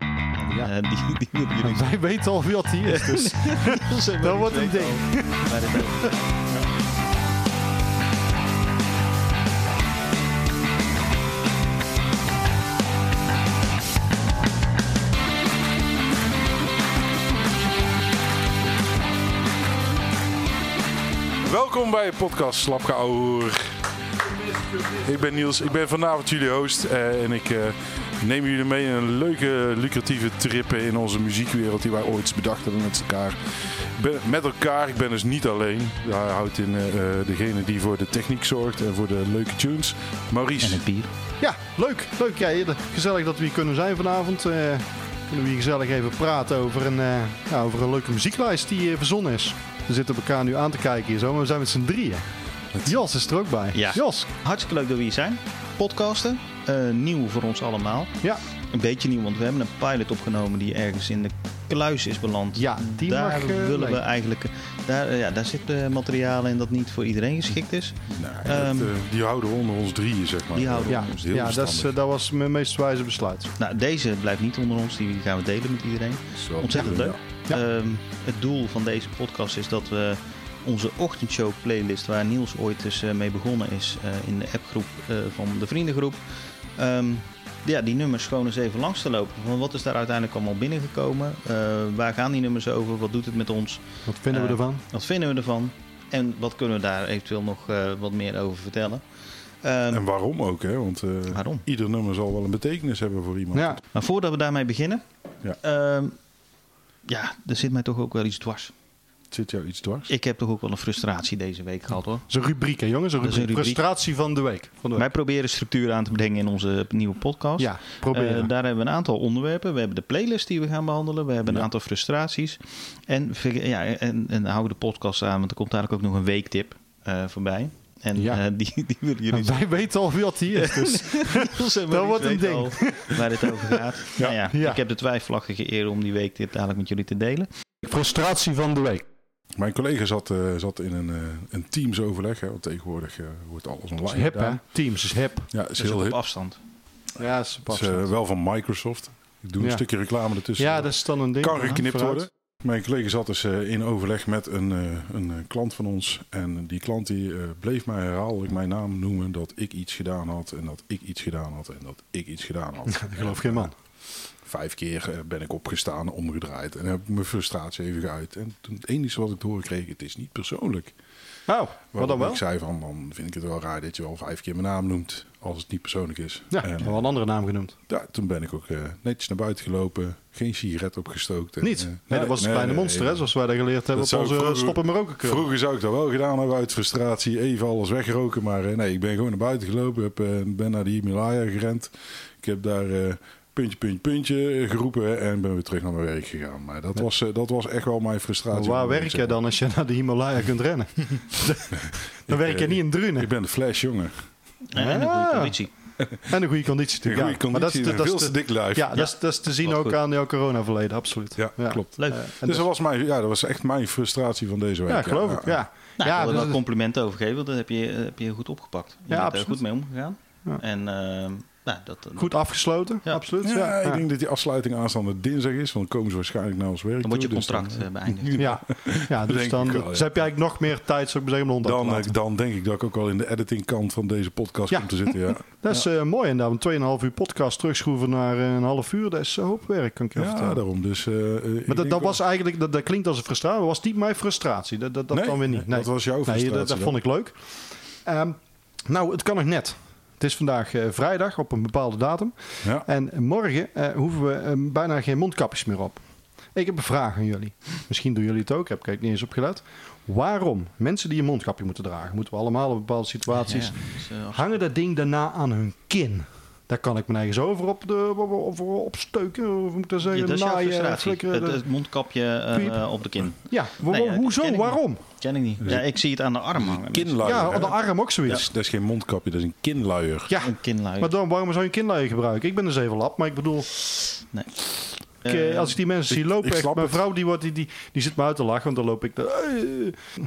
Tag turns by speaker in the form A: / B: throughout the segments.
A: Eh, die, die moeten jullie
B: Wij weten al wie dat hier is, dus dat wordt een ding.
A: Maar dat ook.
C: Welkom bij podcast Slapgeouwer. Ik ben Niels, ik ben vanavond jullie host eh, en ik eh, neem jullie mee in een leuke, lucratieve trip in onze muziekwereld die wij ooit bedacht hebben met elkaar. Ik ben- met elkaar, ik ben dus niet alleen. Hij houdt in eh, eh, degene die voor de techniek zorgt en voor de leuke tunes. Maurice.
A: En het bier.
B: Ja, leuk. Leuk. Ja, heel gezellig dat we hier kunnen zijn vanavond. Eh, kunnen we hier gezellig even praten over een, eh, ja, over een leuke muzieklijst die eh, verzonnen is. We zitten elkaar nu aan te kijken hier zo, maar we zijn met z'n drieën. Jos is er ook bij.
A: Ja.
B: Jos,
A: Hartstikke leuk dat we hier zijn. Podcasten. eh, nieuw voor ons allemaal.
B: Ja.
A: Een beetje nieuw, want we hebben een pilot opgenomen die ergens in de kluis is beland.
B: ja, die
A: daar
B: mag... eh,
A: willen
B: mee.
A: we eigenlijk. Daar, eh, ja, daar zit eh, materiaal in dat niet voor iedereen geschikt is.
C: Nee, dat,
A: Ehm,
C: eh, die houden we onder ons drieën, zeg maar.
A: die houden we
B: Ja,
C: onder ons. Heel
B: ja dat, is,
C: verstandig.
B: eh, dat was mijn meest wijze besluit.
A: Nou, deze blijft niet onder ons, die gaan we delen met iedereen.
C: Dat is wel
A: Ontzettend
C: goed,
A: leuk.
B: Ja.
A: Ehm, het doel van deze podcast is dat we onze ochtendshow playlist, waar Niels ooit dus eh, mee begonnen is eh, in de appgroep eh, van de vriendengroep. ehm, ja, die nummers gewoon eens even langs te lopen. Van wat is daar uiteindelijk allemaal binnengekomen? Eh, waar gaan die nummers over? Wat doet het met ons?
B: Wat vinden we
A: Eh,
B: ervan?
A: Wat vinden we ervan? En wat kunnen we daar eventueel nog eh, wat meer over vertellen? Ehm,
C: En waarom ook, hè? Want eh,
A: waarom?
C: ieder nummer zal wel een betekenis hebben voor iemand.
B: Ja,
A: Maar voordat we daarmee beginnen,
C: Ja.
A: ehm, ja, er zit mij toch ook wel iets dwars.
C: Zit jou iets dwars?
A: Ik heb toch ook wel een frustratie deze week gehad hoor.
B: zo'n rubriek hè jongens, een
A: Dat is een
B: rubriek.
A: rubriek.
B: Frustratie van de week. Van de week.
A: Wij proberen structuur aan te brengen in onze nieuwe podcast.
B: Ja, proberen.
A: Eh, daar hebben we een aantal onderwerpen. We hebben de playlist die we gaan behandelen. We hebben een
C: Ja.
A: aantal frustraties. En, ver- ja, en, en houden de podcast aan, want er komt dadelijk ook nog een weektip eh, voorbij. En
B: Ja.
A: eh, die, die willen jullie
B: wij weten al wie dat hier is, dus...
A: Dat
B: wordt een ding.
A: Waar het over gaat.
C: Ja.
A: Nou ja,
B: Ja.
A: Ik heb de twijfelachtige eer om die weektip dadelijk met jullie te delen.
B: Frustratie van de week.
C: Mijn collega zat, eh, zat in een, eh, een Teams-overleg. hè, Want tegenwoordig eh, wordt alles online
B: Is hip, hè?
C: gedaan.
B: Teams is hip.
C: Ja, is
A: Dus
C: heel
A: ook op
C: hip.
A: afstand.
B: Ja, is
C: Is, eh, wel van Microsoft. Ik doe een
B: Ja.
C: stukje reclame ertussen.
B: ja, dat is dan een ding.
C: Dus, eh, kan
B: Ja,
C: geknipt
B: vooruit.
C: worden. Mijn collega zat dus eh, in overleg met een, eh, een eh, klant van ons. En die klant die, eh, bleef mij herhaaldelijk mijn naam noemen dat ik iets gedaan had. En dat ik iets gedaan had. En dat ik iets gedaan had.
B: Ik geloof geen
C: Oh,
B: man.
C: Vijf keer eh, ben ik opgestaan, omgedraaid. En heb ik mijn frustratie even geuit. En toen, het enige wat ik te horen kreeg, het is niet persoonlijk.
B: Oh, wat dan
C: Waarom
B: wel?
C: Ik zei van, dan vind ik het wel raar dat je wel vijf keer mijn naam noemt als het niet persoonlijk is.
B: Ja, ik
C: en,
B: heb wel een andere naam genoemd.
C: ja, toen ben ik ook eh, netjes naar buiten gelopen, geen sigaret opgestookt. en,
B: Niet.
C: eh,
B: nee, dat was een kleine
C: nee,
B: monster,
C: nee.
B: hè, eh, zoals wij dat geleerd hebben
C: Dat zou
B: op
C: ik
B: onze
C: vroeger-
B: stoppen maar roken curve.
C: Vroeger zou ik dat wel gedaan hebben uit frustratie, even alles wegroken. Maar eh, nee, ik ben gewoon naar buiten gelopen, heb, eh, ben naar de Himalaya gerend. Ik heb daar eh, puntje, puntje, puntje eh, geroepen en ben weer terug naar mijn werk gegaan. Maar dat, was, eh, dat was echt wel mijn
B: Maar
C: frustratie.
B: Waar werk
C: Zeg maar.
B: jij dan als je naar de Himalaya kunt rennen? dan werk je
C: eh,
B: niet in Drunen.
C: Ik ben de flash, jongen.
A: En, en een goede
B: Ah.
A: conditie.
B: En een goede conditie
C: Een
B: natuurlijk.
C: goede
B: ja. Maar dat is
C: conditie,
B: te-
C: een
B: dat is
C: veel
B: te-
C: te dik lijf.
B: Ja, dat is- dat is te zien
A: Wat
B: ook
A: goed.
B: aan jouw corona-verleden, absoluut.
C: Ja, klopt.
A: Leuk.
B: Eh, en
C: Dus dat
B: dat-
C: was, mijn, ja, dat was echt mijn frustratie van deze week.
B: ja, geloof ik. Ja,
A: Nou,
B: ja,
A: ik wil er
B: dus-
A: wel complimenten over geven, want dat heb je, eh, heb je goed opgepakt. Je bent er
B: absoluut.
A: goed mee omgegaan.
B: Ja.
A: En eh, nou, dat,
B: goed afgesloten,
A: Ja.
B: absoluut.
C: Ja,
B: Ja,
C: ik
B: ja.
C: denk dat die afsluiting aanstaande dinsdag is, want dan komen ze waarschijnlijk naar ons werk.
A: dan wordt je
C: toe, dus
A: contract
C: dan,
A: eh, beëindigd.
B: Ja, ja dus
C: Denk
B: dan,
C: ik wel, ja.
B: dus heb je eigenlijk nog meer tijd, zou ik maar zeggen, om de hond af te
C: dan,
B: laten.
C: eh, dan denk ik dat ik ook wel in de editingkant van deze podcast
B: Ja.
C: kom te zitten. Ja,
B: Dat is eh, mooi inderdaad. Een 2,5 uur podcast terugschroeven naar eh, een half uur. Dat is een hoop werk, kan ik je vertellen.
C: ja daarom. Dus, eh, eh, ik
B: maar dat,
C: denk
B: dat
C: wel-
B: was eigenlijk, dat, dat klinkt als een frustratie. Dat was niet mijn frustratie. Dat, dat, dat
C: Nee,
B: dan weer niet. Nee,
C: dat was jouw
B: Nee,
C: frustratie.
B: dat, dat
C: dan.
B: vond ik leuk. Ehm, nou, het kan nog net. Het is vandaag eh, vrijdag op een bepaalde datum.
C: Ja.
B: En morgen eh, hoeven we eh, bijna geen mondkapjes meer op. Ik heb een vraag aan jullie. Misschien doen jullie het ook. Heb ik eigenlijk niet eens opgelet. Waarom mensen die een mondkapje moeten dragen, moeten we allemaal in bepaalde situaties.
A: Ja, dus, eh, als-
B: Hangen dat ding daarna aan hun kin? Daar kan ik mijn eigen zo over op, de, op, op, opsteuken. Of hoe moet ik dat
A: ja,
B: zeggen?
A: dat is jouw
B: Naaien,
A: eh, frustratie.
B: flikkeren,
A: Het,
B: dat-
A: het mondkapje eh,
B: Piep.
A: eh, op de kin.
B: ja, wa- wa-
A: Nee, ja,
B: hoezo?
A: ken ik niet.
B: Waarom?
A: Ken ik niet. Ja, ik zie het aan de arm hangen.
C: Kinluier.
B: Ja,
C: hè?
B: op de arm ook
C: dat,
B: zoiets.
C: is, dat is geen mondkapje, dat is een kinluier.
B: Ja,
A: Een kinluier.
B: maar dan, waarom zou je een kinderlijn gebruiken? Ik ben een zevenlap, maar ik bedoel, ik, eh,
A: Eh,
B: als ik die mensen zie
C: ik-
B: lopen,
C: ik
B: echt,
C: snap
B: mijn
C: het.
B: vrouw die, wordt, die, die, die zit me uit te lachen, want dan loop ik daar. eh,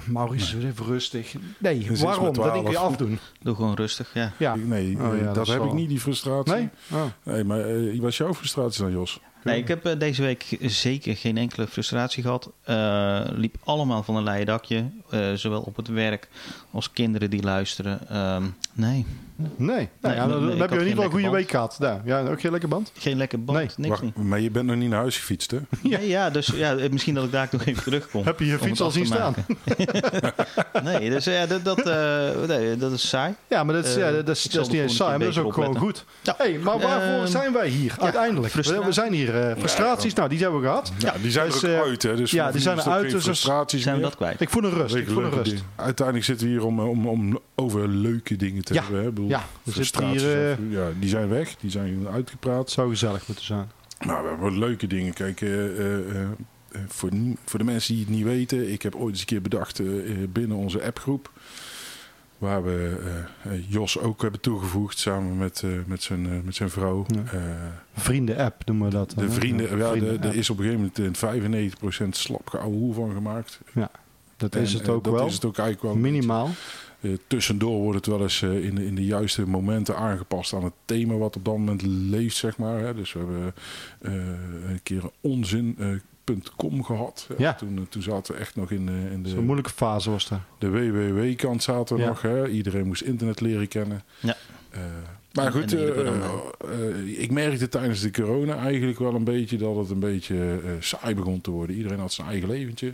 B: Maurice, doe even rustig. Nee,
C: is
B: waarom?
C: met
B: Dat denk ik
C: 12.
B: afdoen.
A: Doe gewoon rustig, ja.
B: Ja.
C: Ik- Nee,
B: Oh ja,
C: eh,
B: dat
C: dat
B: is
C: heb
B: wel-
C: ik niet, die frustratie.
B: Nee? Oh.
C: Nee, maar eh, wat is jouw frustratie dan, Jos?
A: Nee, ik heb eh, deze week zeker geen enkele frustratie gehad. Eh, liep allemaal van een leien dakje. eh, zowel op het werk als kinderen die luisteren. Ehm, nee,
B: Nee, nou, ja,
A: nee, nee,
B: dan, dan
A: ik
B: heb je
A: had
B: in ieder geval
A: geen
B: een goede
A: lekker
B: week gehad. Nou, ja, ook geen lekker band?
A: geen lekker band,
B: Nee.
A: niks meer.
C: Wacht, maar je bent nog niet naar huis gefietst, hè?
A: Ja. Nee, ja, dus ja, eh, misschien dat ik daar nog even terugkom.
B: Heb je je
A: om het
B: fiets al
A: af te
B: zien staan?
A: maken. nee, dus ja, dat, dat, eh, nee, dat is saai.
B: Ja, maar dat is,
A: Eh,
C: Ehm,
B: ja, dat is,
A: ik
B: dat is
A: zal
B: niet
A: de
B: eens saai, maar dat is ook
A: volgende
B: gewoon
A: keer
B: goed.
A: Ja.
B: hey, maar waarvoor
A: Ehm,
B: zijn wij hier uiteindelijk? We,
A: frustratie.
B: we zijn hier eh, frustraties, nou die zijn we gehad.
C: Ja, die zijn
B: dus,
C: er ook
B: eh,
C: uit, hè? Dus
B: ja,
C: voor
B: die
C: nu
B: zijn
C: is
B: er
C: dat
B: uit,
C: geen
B: dus als-
C: frustraties
A: Zijn we
C: meer.
A: dat kwijt?
B: Ik voel een rust, ik
C: Leuke,
B: voel een
C: leuke
B: rust.
C: dingen. Uiteindelijk zitten we hier om, eh, om, om over leuke dingen te
B: Ja.
C: hebben. Hè? Ik bedoel,
B: Ja, we zitten
C: frustraties.
B: hier, eh,
C: of- ja, die zijn weg, die zijn
B: Het
C: uitgepraat.
B: zou gezellig moeten zijn.
C: Nou, we hebben leuke dingen. Kijk, eh, eh, eh, voor, nie- voor de mensen die het niet weten, ik heb ooit eens een keer bedacht eh, eh, binnen onze appgroep. Waar we eh, eh, Jos ook hebben toegevoegd samen met, eh, met, zijn, eh, met zijn vrouw.
B: Ja.
C: Eh,
B: Vrienden-app noemen we dat. dan,
C: de
B: hè?
C: vrienden, ja, de-
B: Vrienden-app.
C: er is op een gegeven moment een 95% slap geouwehoer van gemaakt.
B: Dat
C: En,
B: is het
C: eh,
B: ook
C: dat
B: wel.
C: is het ook eigenlijk wel.
B: Minimaal.
C: Eh, tussendoor wordt het wel eens eh, in, de- in de juiste momenten aangepast aan het thema wat op dat moment leeft, zeg maar. Hè. Dus we hebben eh, een keer onzin.com gehad. hè.
B: Ja.
C: Toen, eh, toen zaten we echt nog in, eh, in
B: Zo'n
C: de,
B: moeilijke fase was dat.
C: de WWW-kant zaten we
B: Ja.
C: nog. Hè. Iedereen moest internet leren kennen.
A: Ja.
C: Eh, maar
A: En-
C: goed,
A: en de
C: eh,
A: corona.
C: eh, ik merkte tijdens de corona eigenlijk wel een beetje dat het een beetje eh, saai begon te worden. Iedereen had zijn eigen leventje.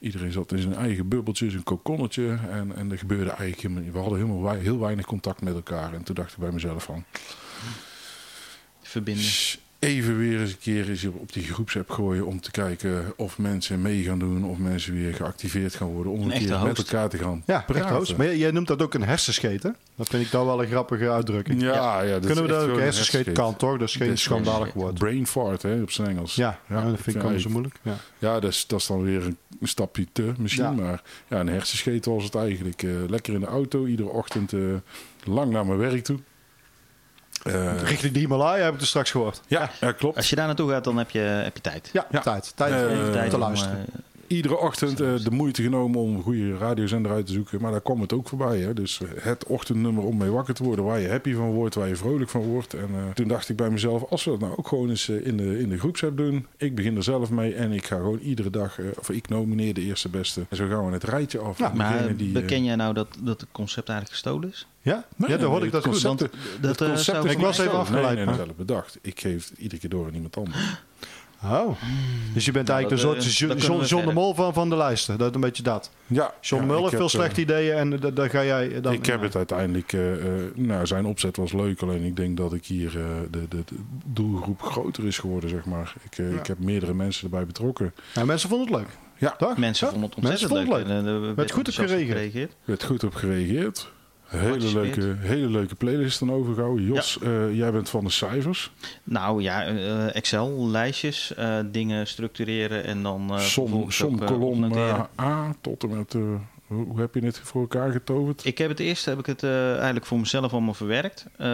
C: Iedereen zat in zijn eigen bubbeltje, zijn kokonnetje. En, en er gebeurde eigenlijk helemaal niet. We hadden helemaal wei- heel weinig contact met elkaar. En toen dacht ik bij mezelf van...
A: Verbinden.
C: "Sst, Even weer eens een keer eens op die groepsapp gooien om te kijken of mensen mee gaan doen. Of mensen weer geactiveerd gaan worden. Om
A: Een
C: een
A: echte
C: keer met
A: host.
C: elkaar te gaan
B: Ja, echt
C: praten.
B: hoos. Maar jij, jij noemt dat ook een hersenscheet, hè? Dat vind ik dan wel een grappige uitdrukking.
C: Ja, ja, dat
B: Kunnen we
C: is echt
B: dat ook?
C: gewoon een
B: Hersenscheet kan toch? Dat is
C: Dit
B: geen
C: is gewoon
B: schandalig woord.
C: Brain fart, hè, op zijn Engels.
B: Ja,
C: Ja,
B: ja,
C: ik
B: dat vind ik
C: vind
B: allemaal zo
C: eigenlijk-
B: moeilijk. Ja.
C: Ja, dat, is, dat is dan weer een, een stapje te misschien.
B: Ja.
C: Maar ja, een hersenscheet was het eigenlijk. Eh, lekker in de auto, iedere ochtend eh, lang naar mijn werk toe. Eh,
B: Richting de Himalaya heb ik er straks gehoord.
C: ja, ja, klopt.
A: Als je daar naartoe gaat, dan heb je, heb je tijd.
B: Ja,
C: Ja.
B: tijd. Tijd
C: Eh,
B: om
A: Even tijd
B: te
A: om,
B: luisteren.
A: eh,
C: Iedere ochtend eh, de moeite genomen om een goede radiozender uit te zoeken. Maar daar kwam het ook voorbij. Hè? Dus eh, het ochtendnummer om mee wakker te worden. Waar je happy van wordt, waar je vrolijk van wordt. En eh, toen dacht ik bij mezelf, als we dat nou ook gewoon eens eh, in de, in de groepsapp doen. Ik begin er zelf mee en ik ga gewoon iedere dag, eh, of ik nomineer de eerste beste. En zo gaan we het rijtje af.
B: Ja,
C: En degene
A: maar
C: die, eh,
A: beken jij nou dat, dat het concept eigenlijk gestolen is?
B: Ja,
C: Nee,
B: ja
C: nee,
B: dan hoorde
C: nee,
B: ik dat
C: het
B: goed.
C: concept-
B: Want
A: Dat, eh,
C: concept
A: zou
C: is
A: voor
B: Ik was
A: mij
B: even
A: zo-
B: af- afgeleid,
C: Nee, nee, nee,
B: maar-
C: dat heb ik bedacht. Ik geef het iedere keer door aan iemand anders.
B: Oh.
C: Mm.
B: Dus je bent
A: Nou,
B: eigenlijk
A: dat,
B: een soort
A: eh,
B: Jo-
A: dat kunnen
B: John,
A: we
B: John de
A: verder.
B: Mol van, van de lijsten. Dat is een beetje dat.
C: Ja,
B: John
C: ja,
B: de Mol
C: ik
B: heeft veel
C: heb, eh,
B: slechte ideeën en eh, dat- daar ga jij dan...
C: ik heb het uiteindelijk, eh, eh, nou, zijn opzet was leuk, alleen ik denk dat ik hier eh, de, de, de doelgroep groter is geworden, zeg maar. Ik, eh,
B: Ja.
C: ik heb meerdere mensen erbij betrokken.
B: Ja, mensen vonden het leuk.
C: Ja,
B: Toch?
A: Mensen
B: Ja?
A: vonden het
B: Mensen
A: ontzettend
B: vonden het
A: leuk. En, eh, we werden
B: goed op
A: enthousiast
B: gereageerd.
C: werd goed op gereageerd. Hele
A: Participeert.
C: leuke, hele leuke playlist dan overgehouden. Jos, eh, jij bent van de cijfers.
A: Nou ja, eh, Excel, lijstjes, eh, dingen structureren en dan... eh,
C: som
A: vervolgens
C: som
A: ook, eh,
C: kolom
A: opnoteren.
C: eh, A tot en met, eh, hoe hoe heb je het voor elkaar getoverd?
A: Ik heb het eerst heb ik het eh, eigenlijk voor mezelf allemaal verwerkt. Eh,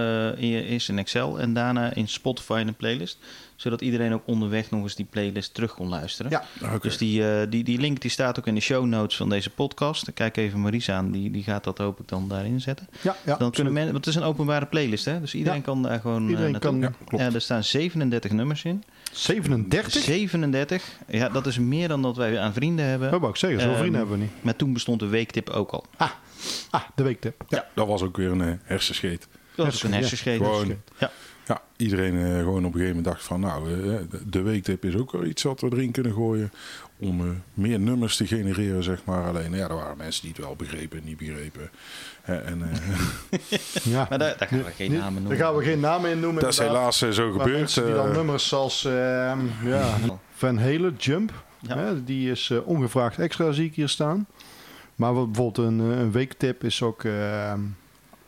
A: e- eerst in Excel en daarna in Spotify in een playlist. Zodat iedereen ook onderweg nog eens die playlist terug kon luisteren.
B: Ja.
C: Ah, Oké.
A: Dus die, eh, die, die link die staat ook in de show notes van deze podcast. Kijk even Marisa aan, die, die gaat dat hoop ik dan daarin zetten.
B: Ja, ja.
A: dan kunnen mensen, want het is een openbare playlist, hè? Dus iedereen
B: Ja.
A: kan daar gewoon. eh,
B: Iedereen
A: naartoe.
B: kan...
C: Ja,
A: Ja, er staan 37 nummers in.
B: 37?
A: 37. Ja, dat is meer dan dat wij aan vrienden hebben.
B: Dat wou ik zeggen. Zoveel
A: Ehm,
B: vrienden hebben we niet.
A: Maar toen bestond de weektip ook al.
B: Ah, de weektip. Ja.
C: Dat was ook weer een eh, hersenscheet.
A: Dat is een
B: Ja.
A: hersenscheet.
C: Gewoon,
A: Ja.
C: ja, iedereen eh, gewoon op een gegeven moment dacht van... nou, eh, de weektip is ook wel iets wat we erin kunnen gooien... om eh, meer nummers te genereren, zeg maar. Alleen, ja, er waren mensen die het wel begrepen en niet begrepen. Eh, en eh,
B: Ja.
A: Maar daar, daar gaan we geen
B: Nu-
A: namen
B: Daar
A: noemen.
B: gaan we geen namen in noemen.
C: dat is
B: inderdaad.
C: helaas eh, zo
B: Maar
C: gebeurd.
B: mensen die dan
C: eh,
B: nummers als ehm, ja, Van Helen, Jump.
A: Ja.
B: Hè, die is eh, ongevraagd extra zie ik hier staan. Maar wat, bijvoorbeeld een, eh, een weektip is ook... ehm,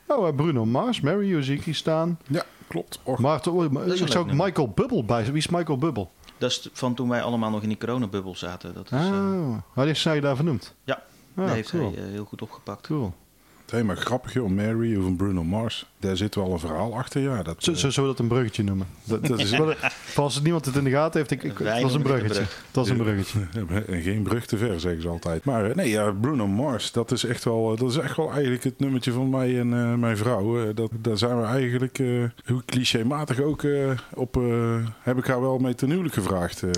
B: oh, eh, Bruno Mars, Mary You zie ik hier staan.
C: ja, klopt. Och,
B: Maar er oh, maar
A: Dat is
B: er
A: een
B: is
A: leuk
B: ook
A: nummer.
B: Michael Bubble bij. Wie is Michael Bubble?
A: Dat is t- van toen wij allemaal nog in die coronabubbel zaten. Dat is, eh,
B: Ah, oh, die is zij daar vernoemd.
A: Ja.
B: Ah,
A: dat heeft
B: cool.
A: hij eh, heel goed opgepakt.
B: cool.
C: Hé, maar grappig joh, Mary of een Bruno Mars. Daar zit wel een verhaal achter, ja. Dat,
B: Zo,
C: eh,
B: zo, zo dat een bruggetje noemen.
C: dat, dat is,
B: Dus wel- voor als niemand het in de gaten heeft, ik, ik,
A: Wij
B: dat is een
A: noemen dit een
B: bruggetje. Dat is een
C: Ja.
B: bruggetje.
C: En geen brug te ver, zeggen ze altijd. Maar eh, nee, ja, Bruno Mars, dat is echt wel, eh, dat is echt wel eigenlijk het nummertje van mij en eh, mijn vrouw. Eh, dat, daar zijn we eigenlijk, eh, hoe clichématig ook, eh, op, eh, heb ik haar wel mee ten huwelijk gevraagd. eh.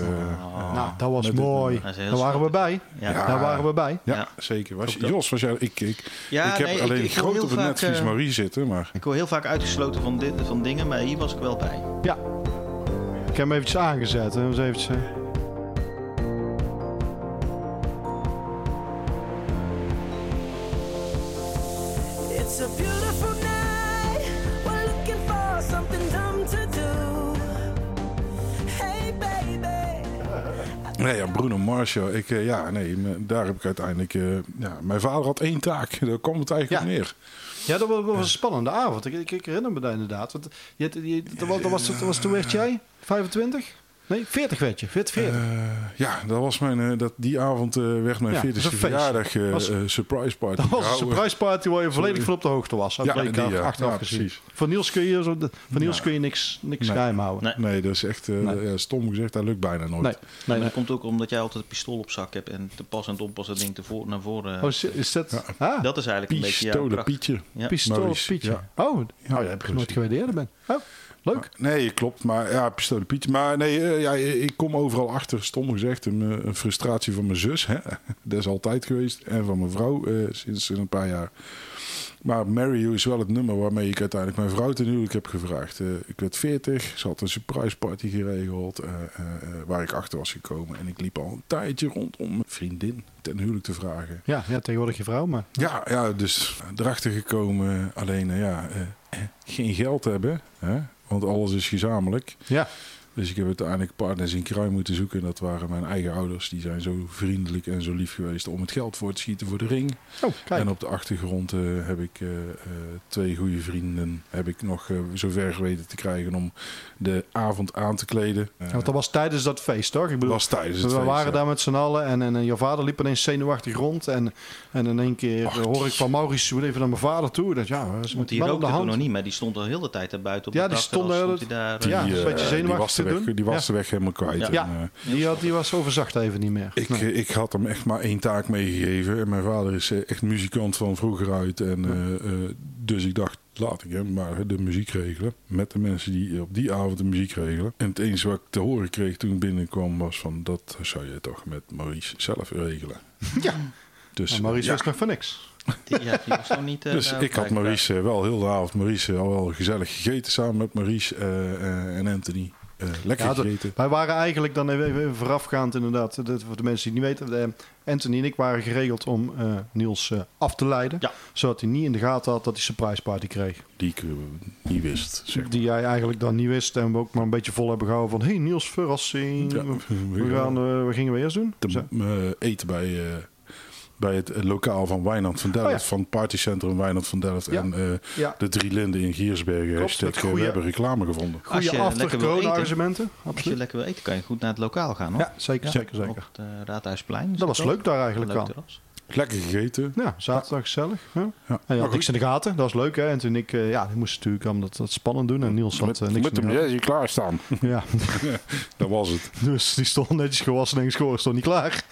A: Oh.
B: nou, dat was
C: met dit
B: mooi.
A: Dat is heel
B: Daar waren we bij.
A: Ja,
C: Ja.
B: Daar waren we bij.
C: ja,
A: Ja.
C: zeker. Was,
A: Ook dat.
C: Jos, was jij, ik, ik,
A: Ja,
C: ik heb
A: nee,
C: alleen
A: ik hoor
C: groot
A: heel
C: op het
A: vaak,
C: netvlies
A: eh,
C: Marie zitten, maar
A: Ik word heel vaak uitgesloten van, dit, van dingen, maar hier was ik wel bij.
B: Ja. Ik heb hem eventjes aangezet. Hè. Dus eventjes, eh,
D: It's a beautiful night. We're looking for something dumb to do. Hey, baby.
C: Nee, ja, Bruno Mars, joh. ik, eh, ja, nee, me- daar heb ik uiteindelijk... eh, ja, mijn vader had één taak, daar kwam het eigenlijk
B: Ja.
C: op neer.
B: Ja, dat was, was een spannende avond. Ik, ik, ik herinner me dat inderdaad. Want je, had- je, dat, was, dat, was, dat was- toen werd jij 25? Nee, 40 werd je. 40, 40.
C: Eh, ja, dat was mijn, eh, dat, die avond eh, werd mijn
B: Ja,
C: 40ste
B: dat was een feestje.
C: verjaardag eh,
B: Was-
C: eh, surprise party
B: dat was een
C: gehouden.
B: surprise party waar je volledig van op de hoogte was. Dat
C: Ja,
B: bleek
C: die,
B: af-
C: ja.
B: achteraf
C: Ja,
B: gezien.
C: precies.
B: Van Niels kun je, zo, de- van Niels
C: Ja.
B: kun je niks, niks
C: Nee.
B: geheim houden.
A: Nee.
C: Nee, dat is echt eh,
B: Nee.
C: ja, stom gezegd, dat lukt bijna nooit.
B: Nee, nee,
A: Maar
B: nee.
A: dat komt ook omdat jij altijd een pistool op zak hebt en te pas en te onpas dat ding te voor, naar voren. eh,
B: Oh, is- is dat... Ah,
A: dat is eigenlijk een beetje jouw
C: Pistolen,
A: kracht.
C: Pietje.
A: Ja.
B: pistool
C: Maurice,
B: Pietje.
C: ja.
B: Oh, oh,
C: Ja,
B: jij hebt
C: precies.
B: nooit geweest eerder bent. Oh, leuk.
C: Nee, klopt. Maar ja, pistolen Pietje. Maar nee, eh, ja, ik kom overal achter, stom gezegd, een, eh, een frustratie van mijn zus. Hè? Dat is altijd geweest. En van mijn vrouw eh, sinds een paar jaar. Maar Marry You is wel het nummer waarmee ik uiteindelijk mijn vrouw ten huwelijk heb gevraagd. Eh, ik werd 40, ze had een surprise party geregeld eh, eh, eh, waar ik achter was gekomen. En ik liep al een tijdje rond om mijn vriendin ten huwelijk te vragen.
B: Ja, ja, tegenwoordig je vrouw, maar...
C: Ja, ja, dus erachter gekomen. Alleen eh, ja, eh, eh, geen geld hebben. Hè? Want alles is gezamenlijk.
B: Ja,
C: Dus ik heb uiteindelijk partners in kruim moeten zoeken. En dat waren mijn eigen ouders. Die zijn zo vriendelijk en zo lief geweest om het geld voor te schieten voor de ring.
B: oh, kijk.
C: En op de achtergrond eh, heb ik eh, eh, twee goede vrienden. Heb ik nog eh, zover weten te krijgen om de avond aan te kleden. Eh,
B: Want dat was tijdens dat feest, toch? Ik
C: dat
B: bedoel,
C: was tijdens
B: Dus we
C: het feest,
B: waren
C: ja.
B: daar met z'n allen en, en, en jouw vader liep ineens zenuwachtig rond. En, en in één keer eh,
C: Ach,
B: hoor ik van Maurice, "Zo even naar mijn vader toe. Dat, ja, dat is
A: Want
B: met
A: die
B: man op de
A: rookte toen nog
B: hand.
A: niet, maar die stond al heel de tijd daar buiten op
B: Ja,
A: het
B: die
A: dakterras,
B: stond de hele-
A: stond hij daar, eh,
C: Die,
B: Ja, een
C: eh,
B: beetje
C: die
B: zenuwachtig
C: was,
B: te
C: de weg,
B: doen.
C: die was
B: Ja.
C: de weg helemaal kwijt.
A: Ja.
C: En,
B: Ja.
C: eh,
B: Die, had, die was overzacht even niet meer.
C: Ik,
B: Nee.
C: eh, ik had hem echt maar één taak meegegeven. En mijn vader is eh, echt muzikant van vroeger uit. En, eh, eh, dus ik dacht, laat ik hem maar de muziek regelen. Met de mensen die op die avond de muziek regelen. En het enige wat ik te horen kreeg toen ik binnenkwam was van... dat zou je toch met Maurice zelf regelen.
B: ja,
C: Dus,
B: maar Maurice
C: ja.
B: was nog voor niks.
A: die- ja, die was nog niet... eh,
C: Dus
A: daar
C: ik had
A: blijkbaar.
C: Maurice eh, wel heel de avond Maurice eh, al wel gezellig gegeten samen met Maurice eh, eh, en Anthony. Eh, lekker
B: Ja, dat-
C: gegeten.
B: Wij waren eigenlijk dan even even voorafgaand inderdaad, dat, voor de mensen die het niet weten. eh, Anthony en ik waren geregeld om eh, Niels eh, af te leiden.
A: Ja.
B: Zodat hij niet in de gaten had dat hij surprise party kreeg.
C: Die ik eh, niet wist, zeg maar.
B: Die jij eigenlijk dan niet wist en we ook maar een beetje vol hebben gehouden van... hey, Niels, verrassing.
C: Ja.
B: Mm, We gaan, eh, wat gingen we eerst doen?
C: te
B: Zo.
C: eh, eten bij, eh, bij het eh, lokaal van Wijnand van Delft.
B: Oh ja.
C: Van het partycentrum Wijnand van Delft.
B: Ja.
C: En eh,
B: Ja.
C: de drie linden in Giersbergen.
B: Klopt,
C: Hashtag,
B: het
C: eh,
B: goeie-
C: we hebben reclame gevonden.
A: Als je
B: Goeie after
A: lekker wil eten.
B: corona-argumenten.
A: Als je
B: Absoluut.
A: lekker wil eten, kan je goed naar het lokaal gaan, hoor.
B: Ja, zeker, zeker,
A: Op
B: zeker.
A: het eh, Raadhuisplein. is
B: Dat was
A: ook.
B: leuk daar eigenlijk
A: Leuk
B: aan.
A: terras.
C: Lekker gegeten.
B: Ja, zaterdag gezellig. Ja.
C: Ja.
B: En je had
C: Maar
B: niks
C: goed,
B: in de gaten, dat was leuk hè. En toen ik, eh, ja, die moest natuurlijk allemaal dat, dat spannend doen. En Niels had
C: met,
B: eh, niks
C: met
B: in
C: hem
B: de
C: jersey klaarstaan.
B: gaten. Ja,
C: Dat was het.
B: dus die stond netjes gewassen en geschoren, stond niet klaar.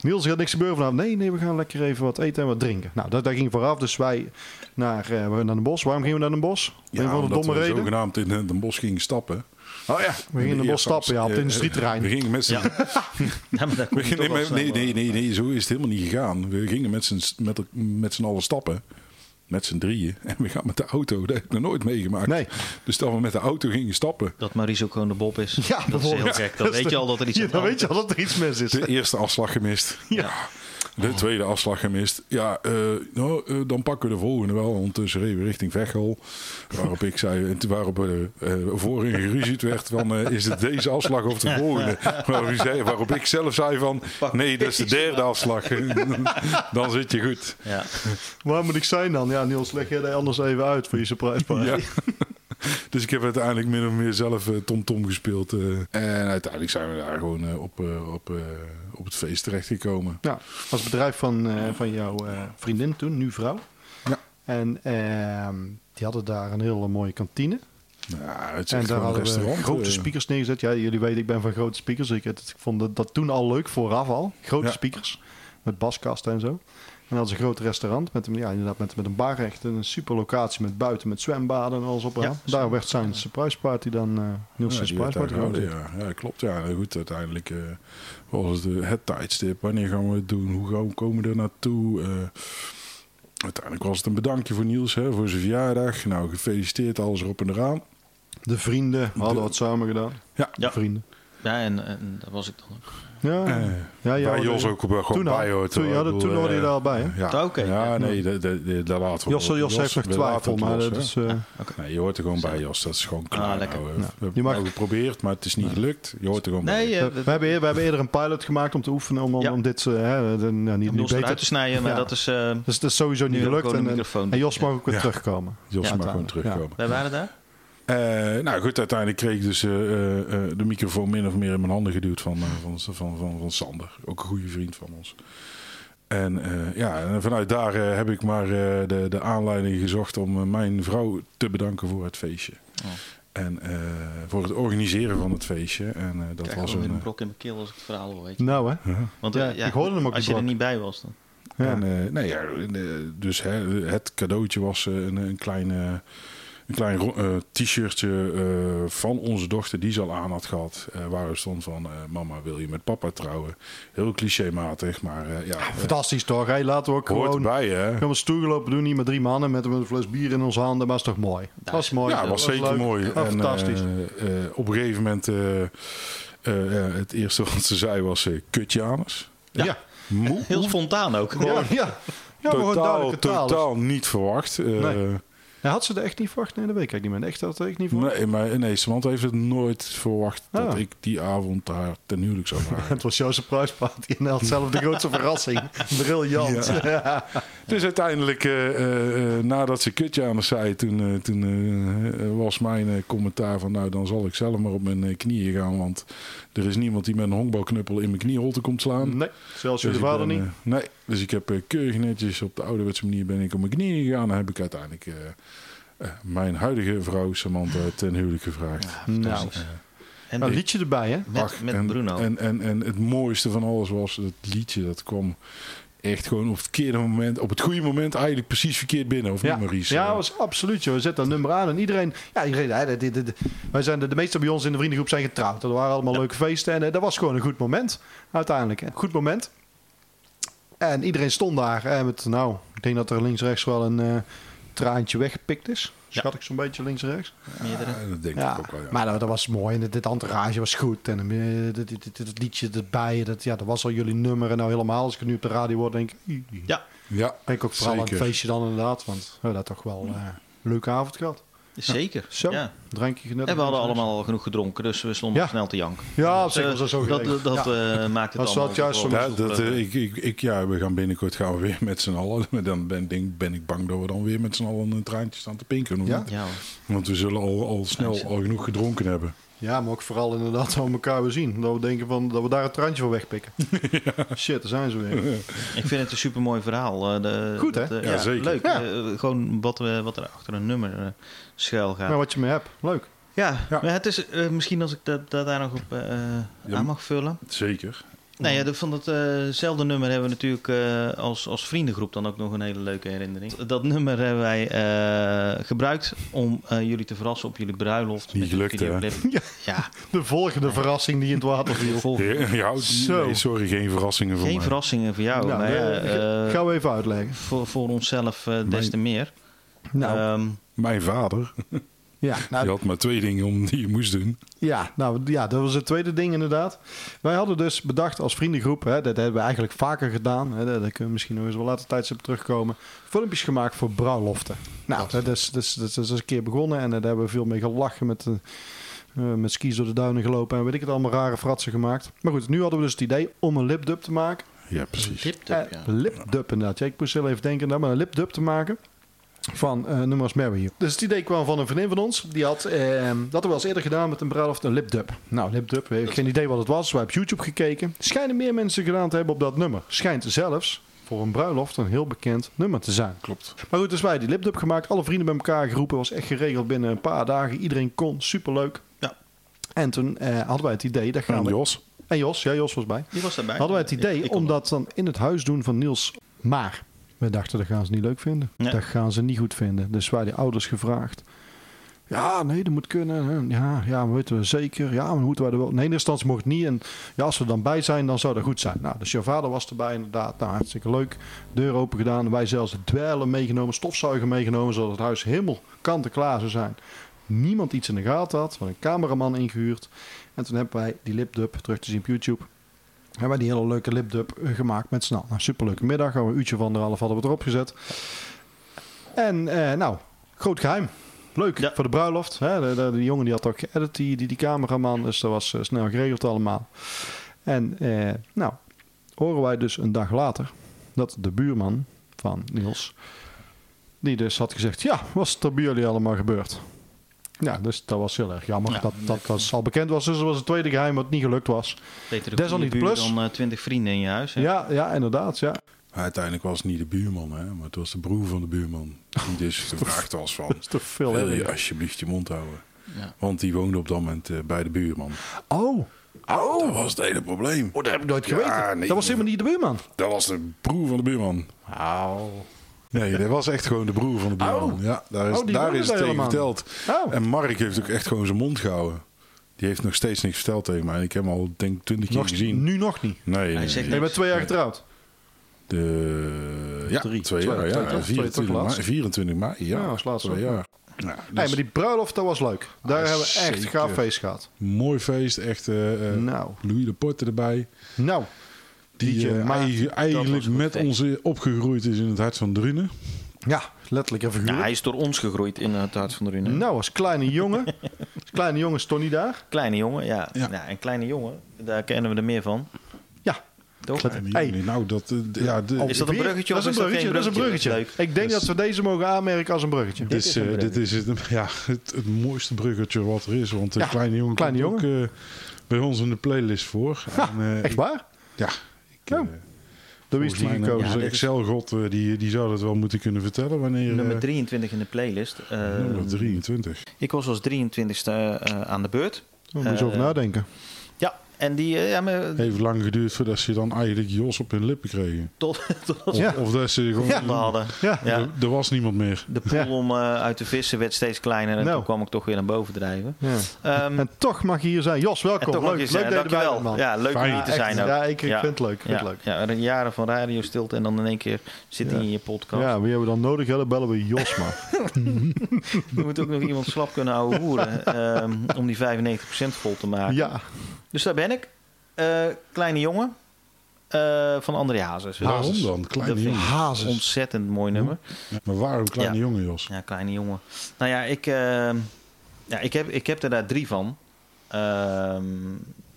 B: Niels er gaat niks gebeuren vanavond. Nee, nee, we gaan lekker even wat eten en wat drinken. Nou, dat, dat ging vooraf. Dus wij naar, eh, we gingen naar Den Bosch. Waarom gingen we naar Den Bosch? Ja, een van de
C: omdat
B: domme
C: we
B: reden.
C: zogenaamd in Den Bosch gingen stappen.
B: Oh ja, we gingen in Den Bosch
C: eerste
B: stappen, ja, op
C: eh,
B: het
C: eh,
B: industrieterrein.
C: We gingen met z'n...
A: Ja. Ja, maar daar kom
C: we
A: je
C: gingen-
A: toch wel
C: nee,
A: snel,
C: nee, nee,
A: eh,
C: nee, nee, zo is het helemaal niet gegaan. We gingen met z'n, met, el- met z'n allen stappen. Met z'n drieën. En we gaan met de auto. Dat heb ik nog nooit meegemaakt.
B: Nee.
C: Dus dat we met de auto gingen stappen.
A: Dat Maurice ook gewoon de Bob is.
B: Ja,
A: dat is heel
B: bijvoorbeeld.
A: gek. Dan weet je al dat er iets
B: Ja,
A: aan
B: dan
A: de
B: weet je al dat er iets mis is.
C: De eerste afslag gemist.
A: hand is.
C: De
B: Oh.
C: tweede afslag gemist. Ja, eh, nou, eh, dan pakken we de volgende wel. Ondertussen reden we richting Veghel. Waarop ik zei, en toen waarop eh eh, voorin geruzied werd van... eh, is het deze afslag of de volgende? Waarop, ik zei, waarop ik zelf zei van... nee, dat is de derde afslag. dan zit je goed.
A: Ja.
B: Waar moet ik zijn dan? Ja, Niels, leg jij daar anders even uit voor je surprise party.
C: Ja. Dus ik heb uiteindelijk min of meer zelf eh, Tom Tom gespeeld. eh. en uiteindelijk zijn we daar gewoon eh, op, eh, op, eh, op het feest terechtgekomen.
B: Ja, was het bedrijf van, eh, van jouw eh, vriendin toen, nu vrouw.
C: Ja.
B: En ehm, die hadden daar een hele mooie kantine.
C: Ja, Nou, het is
B: en
C: echt
B: daar
C: gewoon een
B: hadden we
C: restaurant.
B: grote
C: eh.
B: speakers neergezet. Ja, jullie weten, ik ben van grote speakers. Ik, het- ik vond dat, dat toen al leuk, vooraf al. Grote
C: Ja.
B: speakers, met baskasten en zo. En dat is een groot restaurant met, een- ja, inderdaad, met, met een bar echt. En een super locatie met buiten, met zwembaden en alles op en
A: Ja,
B: aan. Daar werd zijn surprise party dan, eh Niels'
C: Ja, die werd
B: surprise
C: daar
B: party
C: gehouden,
B: gehouden.
C: ja. ja, klopt. Ja, goed, uiteindelijk eh, was het eh, het tijdstip. Wanneer gaan we het doen? Hoe gaan we komen we er naartoe? Eh, uiteindelijk was het een bedankje voor Niels hè, voor zijn verjaardag. Nou, gefeliciteerd, alles erop en eraan.
B: De vrienden hadden
C: De-
B: wat samen gedaan.
C: Ja.
B: De vrienden.
A: Ja, en, en daar was ik dan ook.
B: Ja,
C: Eh,
B: ja, ja
C: Waar
B: hoor,
C: Jos
B: eh,
C: ook wel gewoon
B: toen al.
C: bij hoort.
B: Toen-
C: hoor.
B: ja,
C: Ik
B: dat-
C: bedoel,
B: toen hoorde je
C: eh,
B: daar al bij, hè?
C: Ja,
A: Oké,
C: ja,
A: ja.
C: nee, dat- dat- dat- daar laten we
B: Jos,
C: wel-
B: Jos heeft nog
C: we laten
B: twijfel,
C: het
B: maar
C: los,
B: dat
C: hè.
B: is... eh,
C: Nee, je hoort er gewoon bij, Jos. Dat is gewoon klaar.
A: lekker.
C: nou, eh.
B: Ja.
C: We hebben
B: Je mag-
C: het wel geprobeerd, maar het is niet gelukt. Je hoort er gewoon bij.
A: Nee, eh,
B: we, hebben, eer- we hebben eerder een pilot gemaakt om te oefenen om, om,
A: Ja.
B: om dit eh, hè, de- nou, niet,
A: om
B: niet
A: ons
B: beter
A: eruit te snijden, maar
B: Ja.
A: dat is... eh,
B: Dus het is sowieso
A: Nu
B: niet
A: heb ik
B: gelukt.
A: gewoon
B: En,
A: de
B: en-
A: microfoon.
B: en Jos mag ook weer
C: Ja.
B: terugkomen.
C: Jos
A: Ja,
C: mag gewoon
B: uiteindelijk, ja.
C: terugkomen.
A: wij waren daar?
C: Eh, nou goed, uiteindelijk kreeg ik dus eh, eh, eh, de microfoon min of meer in mijn handen geduwd van, eh, van, van, van, van Sander. Ook een goede vriend van ons. En eh, ja, en vanuit daar eh, heb ik maar eh, de, de aanleiding gezocht om eh, mijn vrouw te bedanken voor het feestje.
A: Oh.
C: En eh, voor het organiseren van het feestje. En eh, dat
A: Ik krijg
C: was
A: gewoon
C: een.
A: weer een brok in mijn keel als ik het verhaal hoor, weet je.
B: Nou hè.
C: ja.
A: Want
B: Ja,
A: eh, ja,
B: ik hoorde hem ook
A: Als
B: die
A: je er
B: brok.
A: niet bij was dan.
B: Ja.
C: En, eh, nee, ja, eh, dus hè, het cadeautje was eh, een, een klein, eh, een klein ro- eh, t-shirtje eh, van onze dochter die ze al aan had gehad. eh waarop stond van eh, mama wil je met papa trouwen. Heel clichématig, maar eh, ja, eh,
B: Fantastisch toch? Hey, laten we ook
C: hoort
B: gewoon...
C: erbij hè.
B: Gaan we stoer gelopen doen, niet met drie mannen met een fles bier in onze handen. Maar is toch mooi? Dat was mooi.
C: Ja, was zeker
B: leuk.
C: mooi.
B: Ja,
C: En,
B: fantastisch.
C: eh, eh, op een gegeven moment, eh, eh, eh, het eerste wat ze zei was eh kutjanus.
B: ja. Ja.
C: Moe.
A: Heel spontaan ook.
B: Ja. ja. maar gewoon
C: totaal,
B: duidelijke taal.
C: totaal niet verwacht. Eh,
B: Nee. Ja, had ze er echt niet verwacht? Nee, dat weet ik eigenlijk niet meer. Echt had ik niet verwacht.
C: Nee, maar nee, Samantha heeft het nooit verwacht dat
B: Ah.
C: ik die avond haar ten huwelijk zou vragen.
B: Het was jouw surprise party en hij had zelf de grootste verrassing. Briljant. Ja.
C: dus uiteindelijk, eh, eh, eh, nadat ze kutje aan me zei, toen, eh, toen eh, eh, was mijn eh, commentaar van nou dan zal ik zelf maar op mijn eh, knieën gaan. Want er is niemand die met een honkbalknuppel in mijn knieholte komt slaan.
B: Nee, zelfs
C: Dus
B: jullie
C: ik
B: vader
C: ben,
B: niet.
C: eh, nee, dus ik heb eh, keurig netjes op de ouderwetse manier ben ik op mijn knieën gegaan. Dan heb ik uiteindelijk eh, eh, mijn huidige vrouw Samantha ten huwelijk gevraagd.
B: Nou,
A: En
B: een liedje erbij hè?
A: met,
C: Ach,
A: met
C: en,
A: Bruno.
C: En, en, en het mooiste van alles was dat liedje dat kwam echt gewoon op het verkeerde moment, op het goede moment eigenlijk precies verkeerd binnen, of
B: Ja,
C: niet Maurice?
B: ja was absoluut. joh. We zetten dat nummer aan en iedereen... Ja, iedereen hè, dit- dit- dit- wij zijn, de, de meesten bij ons in de vriendengroep zijn getrouwd. Dat waren allemaal leuke feesten en eh, dat was gewoon een goed moment. Uiteindelijk, hè. goed moment. En iedereen stond daar. Hè, met, nou, ik denk dat er links-rechts wel een eh, traantje weggepikt is.
A: Ja.
B: Schat ik zo'n beetje links-rechts.
A: Meerdere.
C: Ja, dat denk
B: Ja,
C: ik ook wel, ja.
B: maar nou, dat was mooi. En dit- dit entourage was goed. En eh, dit, dit, dit- dit liedje erbij. Dat, ja, dat was al jullie nummer. En nou helemaal, als ik het nu op de radio hoor, denk ik... "Ih."
A: Ja,
C: ja,
B: Denk ook vooral aan het
C: Zeker.
B: feestje dan inderdaad, want we hebben daar toch wel eh, een leuke avond gehad.
A: zeker.
B: Zo,
A: Ja.
B: drankje
A: En
B: genuttigd.
A: we hadden allemaal al genoeg gedronken, dus we stonden
B: Ja.
A: snel te janken.
B: Ja,
A: Dat,
B: zeker
A: eh,
B: was dat zo
A: Dat,
B: geregeld.
A: dat, dat, eh, maakt het
B: Dat
A: allemaal...
B: is wel het juiste
A: wel-
C: Ja, dat, eh, ik, ik, ik, ja, we gaan binnenkort gaan we weer met z'n allen. Maar dan ben, denk, ben ik bang dat we dan weer met z'n allen een traantje staan te pinken. hoor.
B: Ja?
A: Ja, hoor.
C: Want we zullen al, al snel al genoeg gedronken hebben.
B: Ja, maar ook vooral inderdaad dat we elkaar weer zien. Dat we denken van, dat we daar het trantje voor wegpikken. Shit, daar zijn ze weer.
A: ik vind het een supermooi verhaal. eh, de-
B: Goed, hè?
A: dat, eh,
C: Ja, zeker.
A: Leuk.
B: Ja.
A: eh, gewoon wat, we wat er achter een nummer eh, schuil gaat.
B: Nou, wat je mee hebt. Leuk.
A: Ja,
C: Ja.
A: maar het is eh, misschien als ik dat, dat daar nog op eh,
C: Ja.
A: aan mag vullen.
C: Zeker.
A: Nou ja, de- van datzelfde nummer hebben we natuurlijk eh, als, als vriendengroep dan ook nog een hele leuke herinnering. Dat nummer hebben wij eh, gebruikt om eh, jullie te verrassen op jullie bruiloft.
C: Niet
A: met
C: gelukt,
A: een videoclip. Ja,
B: De volgende verrassing die in het water viel.
A: volgende.
C: Ja, ja,
B: Zo.
C: nee, sorry, geen verrassingen voor
A: Geen
C: mij.
A: verrassingen voor jou.
B: nou,
A: maar ja,
B: eh, ga-
A: eh,
B: gaan we even uitleggen.
A: voor, voor onszelf eh, des te meer.
B: Nou,
A: Ehm,
C: Mijn vader,
B: ja, nou,
C: die had maar twee dingen om die je moest doen.
B: Ja, nou ja, dat was het tweede ding inderdaad. Wij hadden dus bedacht als vriendengroep, hè, dat hebben we eigenlijk vaker gedaan. Hè, daar daar kunnen we misschien nog eens wel later tijds op terugkomen. Filmpjes gemaakt voor bruiloften. Nou, dat is, dat, is, dat, is, dat is een keer begonnen en eh, daar hebben we veel mee gelachen met, eh, eh, met skis door de duinen gelopen en weet ik het allemaal rare fratsen gemaakt. Maar goed, nu hadden we dus het idee om een lipdub te maken.
C: Ja, precies.
A: Lipdub,
B: Eh,
A: ja.
B: Lipdub inderdaad. Ja, ik moest heel even denken daar, maar een lipdub te maken van eh nummers Mary. You. Dus het idee kwam van een vriendin van ons. Die had eh, dat hadden we al eens eerder gedaan met een bruiloft, een lipdub. Nou, lipdub, eh, geen idee wat het was. We hebben op YouTube gekeken. Schijnen meer mensen gedaan te hebben op dat nummer. Schijnt zelfs voor een bruiloft een heel bekend nummer te zijn.
C: Klopt.
B: Maar goed, dus wij die lipdub gemaakt, alle vrienden bij elkaar geroepen, was echt geregeld binnen een paar dagen. Iedereen kon, superleuk.
A: Ja.
B: En toen eh, hadden wij het idee, daar gaan
C: En
B: we.
C: Jos.
B: En Jos, ja, Jos was bij.
A: Die was daarbij.
B: Hadden wij het idee
A: Ik- ik kon
B: om dat dan in het huis doen van Niels. Maar we dachten, dat gaan ze niet leuk vinden.
A: Nee.
B: Dat gaan ze niet goed vinden. Dus wij de ouders gevraagd. Ja, nee, dat moet kunnen. Ja, ja, weten we zeker. Ja, maar moeten wij er wel... Nee, in eerste instantie mocht het niet. En ja, als we er dan bij zijn, dan zou dat goed zijn. Nou, dus jouw vader was erbij inderdaad. Nou, hartstikke leuk. Deur open gedaan. Wij zelfs de dweilen meegenomen, stofzuiger meegenomen... zodat het huis helemaal kant-en-klaar zou zijn. Niemand iets in de gaten had. We hadden een cameraman ingehuurd. En toen hebben wij die lipdub terug te zien op YouTube... Hebben wij die hele leuke lipdub eh, gemaakt met snel. Nou, superleuke middag. Al Een uurtje van anderhalf hadden we het erop gezet. En eh, nou, groot geheim. Leuk
A: Ja.
B: voor de bruiloft. Hè? De, de- die jongen die had ook geëdit, die, die, die cameraman. Dus dat was eh, snel geregeld allemaal. En eh, nou, horen wij dus een dag later dat de buurman van Niels... die dus had gezegd, ja, was het er bij jullie allemaal gebeurd? Ja, dus dat was heel erg jammer.
A: Ja,
B: dat dat was al bekend was. Dus er was een tweede geheim wat niet gelukt was.
A: Beter de
B: Desalniet
A: goede buur
B: plus.
A: dan eh, twintig vrienden in je huis. hè?
B: Ja, ja inderdaad. Ja.
C: Maar uiteindelijk was het niet de buurman, hè, maar het was de broer van de buurman. Die dus gevraagd was van,
B: Dat is toch veel
C: wil je
B: erger.
C: alsjeblieft je mond houden?
A: Ja.
C: Want die woonde op dat moment eh, bij de buurman.
B: Oh,
C: Oh, dat was het hele probleem.
B: dat heb ik nooit
C: Ja,
B: geweten.
C: nee.
B: dat was helemaal niet de buurman.
C: Dat was de broer van de buurman.
B: Oh.
C: Nee, dat was echt gewoon de broer van de buurman.
B: Oh.
C: Ja, daar is,
B: Oh, die
C: daar
B: woonde
C: is
B: daar
C: het tegen
B: helemaal.
C: verteld.
B: Oh.
C: En Mark heeft ook echt gewoon zijn mond gehouden. Die heeft nog steeds niks verteld tegen mij. Ik heb hem al denk ik twintig keer
B: Nog,
C: gezien.
B: nu nog niet.
C: Nee, nee,
A: zegt
C: nee.
B: Je bent twee jaar getrouwd.
C: De, ja,
B: Drie.
C: twee
B: Twee,
C: jaar.
B: twee,
C: Ja,
B: toch? Twee,
C: 24
B: toch
C: mei.
B: laatst? Nou,
C: 24 mei, ja.
B: Ja, als laatste
C: twee
B: ook.
C: jaar. Ja, dus
B: Nee, maar die bruiloft, dat was leuk. Daar
C: Ah,
B: hebben we echt
C: zeker.
B: gaaf feest gehad.
C: Mooi feest, echt. eh, eh,
B: Nou.
C: Louis de Porte erbij.
B: Nou,
C: Die
B: Liedje,
C: eh,
B: maar
C: eigen-
A: was
C: eigenlijk
A: een goed
C: met
A: feest.
C: ons eh, opgegroeid is in het hart van Drunen.
B: ja, letterlijk en
A: Ja,
B: figuurlijk.
A: hij is door ons gegroeid in eh, het hart van de Rune.
B: Nou, als kleine jongen. als kleine jongen is Tony daar.
A: Kleine jongen, ja.
C: Ja.
A: ja. en kleine jongen, daar kennen we er meer van.
B: Ja.
A: Toch?
C: En die-
B: Hey.
C: Nou, dat. eh, d- ja,
B: Ah,
C: de-
A: Is dat een
B: Weer?
A: bruggetje
B: Dat
A: of
B: is een
A: is dat
B: bruggetje.
A: geen
B: Dat is een
A: bruggetje?
B: bruggetje. Ik denk
C: Dus-
B: dat we deze mogen aanmerken als een bruggetje.
C: dit is,
A: is een
C: eh, dit is het, ja, het, het mooiste bruggetje wat er is. Want de
B: Ja,
C: kleine jongen
B: Kleine
C: komt ook eh, bij ons in de playlist voor. en, eh,
B: Echt
C: ik-
B: waar?
C: Ja. Ik,
B: Ja.
C: eh,
B: Door wie is
C: volgens
B: die
C: mij
B: gekozen?
C: onze
A: Ja, dit is-
C: Excel-god eh, die, die zou dat wel moeten kunnen vertellen. Wanneer,
A: Nummer
C: eh,
A: 23 in de playlist. Eh,
C: nummer 23.
A: ik was als 23ste eh, aan de beurt.
B: Daar Oh, moet je
A: Eh,
B: over nadenken.
A: Ja, en die... eh, ja, maar,
C: Heeft lang geduurd voordat ze dan eigenlijk Jos op hun lippen kregen.
A: tot, tot
C: Of,
B: Ja.
C: of dat ze gewoon...
A: we hadden.
B: Ja.
A: Ja.
C: Er, er was niemand meer.
A: De pool
B: Ja.
A: om eh, uit te vissen werd steeds kleiner. En
B: Nou.
A: toen kwam ik toch weer naar boven drijven.
B: Ja.
A: Ehm,
B: En toch mag je hier zijn. Jos, welkom.
A: en toch
B: leuk
A: mag je zijn.
B: leuk dat je erbij bent,
A: Dankjewel.
B: man.
A: Ja, leuk om
C: Fijn.
A: hier te
B: Echt,
A: zijn ook.
B: Ja, ik, ik
A: Ja.
B: vind het leuk. Ik vind
A: ja,
B: het leuk.
A: ja, jaren van radiostilte en dan in één keer zit hij in je podcast.
B: Ja, wie hebben we dan nodig? Ja, dan bellen we Jos maar.
A: Je moet ook nog iemand slap kunnen houden hoeren ehm, om die 95% vol te maken.
B: ja,
A: Dus daar ben ik. Eh, kleine jongen eh, van André Hazes.
C: Waarom dan?
A: Dat
C: Kleine
A: vind
C: jongen.
A: ik
B: Hazes.
A: een ontzettend mooi nummer.
C: Maar waarom kleine
A: Ja.
C: jongen, Jos?
A: Ja, kleine jongen. Nou ja, ik, ehm, ja, ik, heb, ik heb er daar drie van ehm,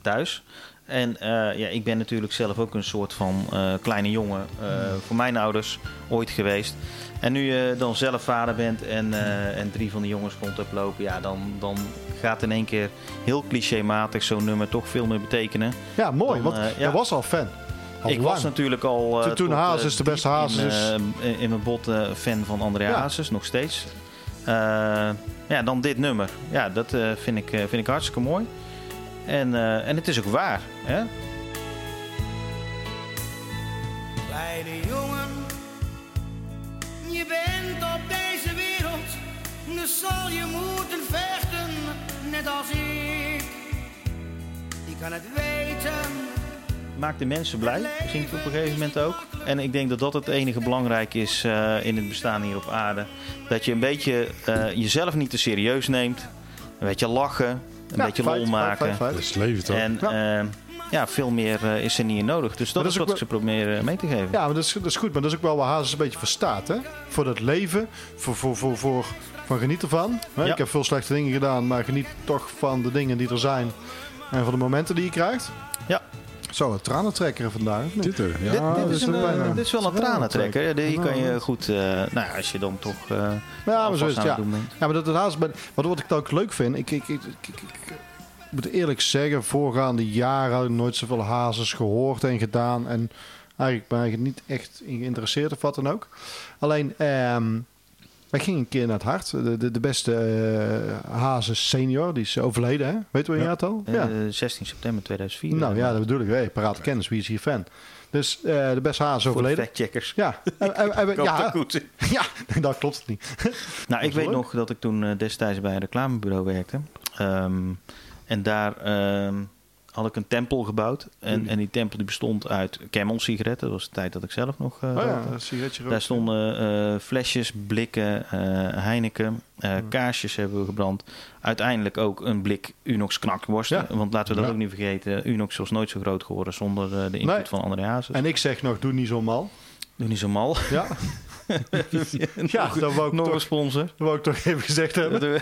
A: thuis. En eh, ja, ik ben natuurlijk zelf ook een soort van eh, kleine jongen eh, voor mijn ouders ooit geweest. En nu je dan zelf vader bent en, eh, en drie van de jongens rond hebt lopen, ja, dan, dan gaat in één keer heel clichématig zo'n nummer toch veel meer betekenen.
B: ja mooi.
A: Dan,
B: want
A: eh, ja.
B: jij was al fan. Al
A: ik
B: lang.
A: was natuurlijk al. eh,
B: Toen- toen
A: tot, eh,
B: Hazes de beste
A: diep
B: Hazes is.
A: In, eh, in mijn bot eh, fan van André
B: Ja.
A: Hazes, nog steeds. Eh, ja, dan dit nummer. Ja, dat eh, vind, ik, eh, vind ik hartstikke mooi. En, eh, en het is ook waar. Hè?
D: Kleine jongen, je bent op deze wereld, dus zal je moeten vechten, net als ik. Je kan het weten,
A: Maakt de mensen blij, zingt op een gegeven moment ook. En ik denk dat dat het enige belangrijk is eh, in het bestaan hier op aarde. Dat je een beetje eh, jezelf niet te serieus neemt. Een beetje lachen, een
B: Ja,
A: beetje
B: feit,
A: lol
B: feit,
A: maken.
B: feit, feit.
C: Dat is het leven toch?
A: En ja, ja veel meer eh, is er niet in nodig. Dus dat,
B: dat
A: is
B: is ook
A: wat ik ze probeer eh, mee te geven.
B: Ja, maar dat is, dat is goed. Maar dat is ook wel waar Hazes een beetje voor staat. Hè? Voor dat leven. Voor, voor, voor, voor, van geniet ervan. Hè?
A: Ja.
B: Ik heb veel slechte dingen gedaan. Maar geniet toch van de dingen die er zijn. En van de momenten die je krijgt.
A: Ja.
B: Zo, een tranentrekker vandaag. of niet?
C: Dit er. Ja,
A: dit, dit
B: Oh, dat
A: is
B: is
A: een,
B: wel
A: eh,
B: bijna-
A: dit is wel een
B: dat is wel
A: tranentrekker. Ja, die
B: Ja,
A: kan je
B: dat-
A: goed... eh, nou ja, als je dan toch... eh,
B: Ja, Ah, maar
A: alvast
B: zo is het.
A: aan
B: Ja.
A: doen bent.
B: Ja, maar dat, dat haast, maar wat, wat ik dan ook leuk vind, ik, ik, ik, ik, ik- ik moet eerlijk zeggen, voorgaande jaren had ik nooit zoveel hazes gehoord en gedaan. En Eigenlijk ben ik er niet echt in geïnteresseerd of wat dan ook. Alleen, ehm wij gingen een keer naar het hart. De, de, de beste eh Hazen senior, die is overleden, hè? Weet je wel
A: Ja.
B: een jaartal?
A: Eh, 16 september 2004.
B: Nou ja,
A: Eh,
B: dat bedoel ik. Hey, parate kennis, wie is hier fan? Dus eh, de beste haas is
A: voor de
B: overleden.
A: factcheckers.
B: Ja, en- en- en-
A: Komt
B: ja,
A: dat goed.
B: ja, dat klopt niet.
A: Nou, ik
B: Dat is
A: weet
B: leuk.
A: nog dat ik toen eh, destijds bij een reclamebureau werkte. Ehm, en daar ehm, had ik een tempel gebouwd. En,
B: Mm.
A: en die tempel die bestond uit Camel sigaretten. Dat was de tijd dat ik zelf nog eh,
B: Oh ja,
A: rookte.
B: een sigaretje roken.
A: Daar stonden eh, flesjes, blikken, eh, Heineken. eh,
B: Hmm.
A: Kaarsjes hebben we gebrand. Uiteindelijk ook een blik Unox knakworst.
B: Ja.
A: Want laten we dat
B: Ja.
A: ook niet vergeten. Unox was nooit zo groot geworden zonder eh, de invloed
B: Nee.
A: van André Hazes.
B: En ik zeg nog, doe niet zo mal.
A: Doe niet zo mal.
B: Ja, ja dat wou ik
A: Nog een
B: toch...
A: sponsor.
B: Dat wou ik toch even gezegd hebben.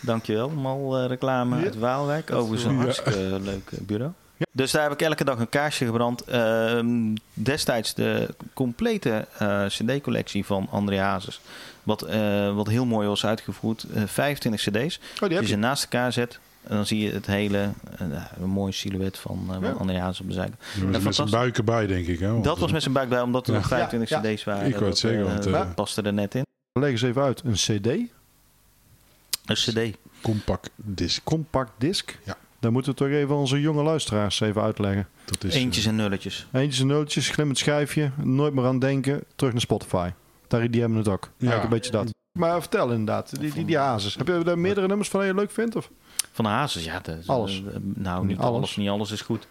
A: Dankjewel, mal eh, reclame
B: Ja.
A: uit Waalwijk. Overigens een hartstikke eh, leuk eh, bureau.
B: Ja.
A: Dus daar heb ik elke dag een kaarsje gebrand. Ehm, destijds de complete eh, cd-collectie van André Hazes. Wat, eh, wat heel mooi was uitgevoerd. Eh, 25 cd's.
B: Oh, die
A: Als
B: heb
A: je
B: je.
A: ze naast elkaar zet, dan zie je het hele... eh, nou, een mooie silhouet van, eh, van
B: Ja.
A: André Hazes op de zijde.
C: Met- met zijn
A: fantastisch.
C: buiken bij, denk ik. Hè? Want
A: Dat was met zijn buik bij, omdat er
C: Ja.
A: nog 25
B: Ja, ja.
A: cd's waren.
C: Ik wou het
A: Dat,
C: zeggen,
A: eh,
C: want, eh,
A: paste er net in.
B: Leg eens even uit. Een cd,
A: Een cd.
C: Compact disc.
B: compact disc.
C: Ja.
B: Dan moeten we toch even aan onze jonge luisteraars even uitleggen.
C: Dat is, eh,
A: Eentjes en nulletjes.
B: Eentjes en nootjes, glimmend schijfje, nooit meer aan denken, terug naar Spotify. Daar, die hebben het ook. Eigenlijk een beetje dat. Maar vertel inderdaad, die, die, die hazes. Heb je daar meerdere nummers van die je leuk vindt? Of?
A: Van de Hazes, ja. dat-
B: Alles.
A: eh, nou, niet
B: Alles.
A: alles. Niet alles is goed.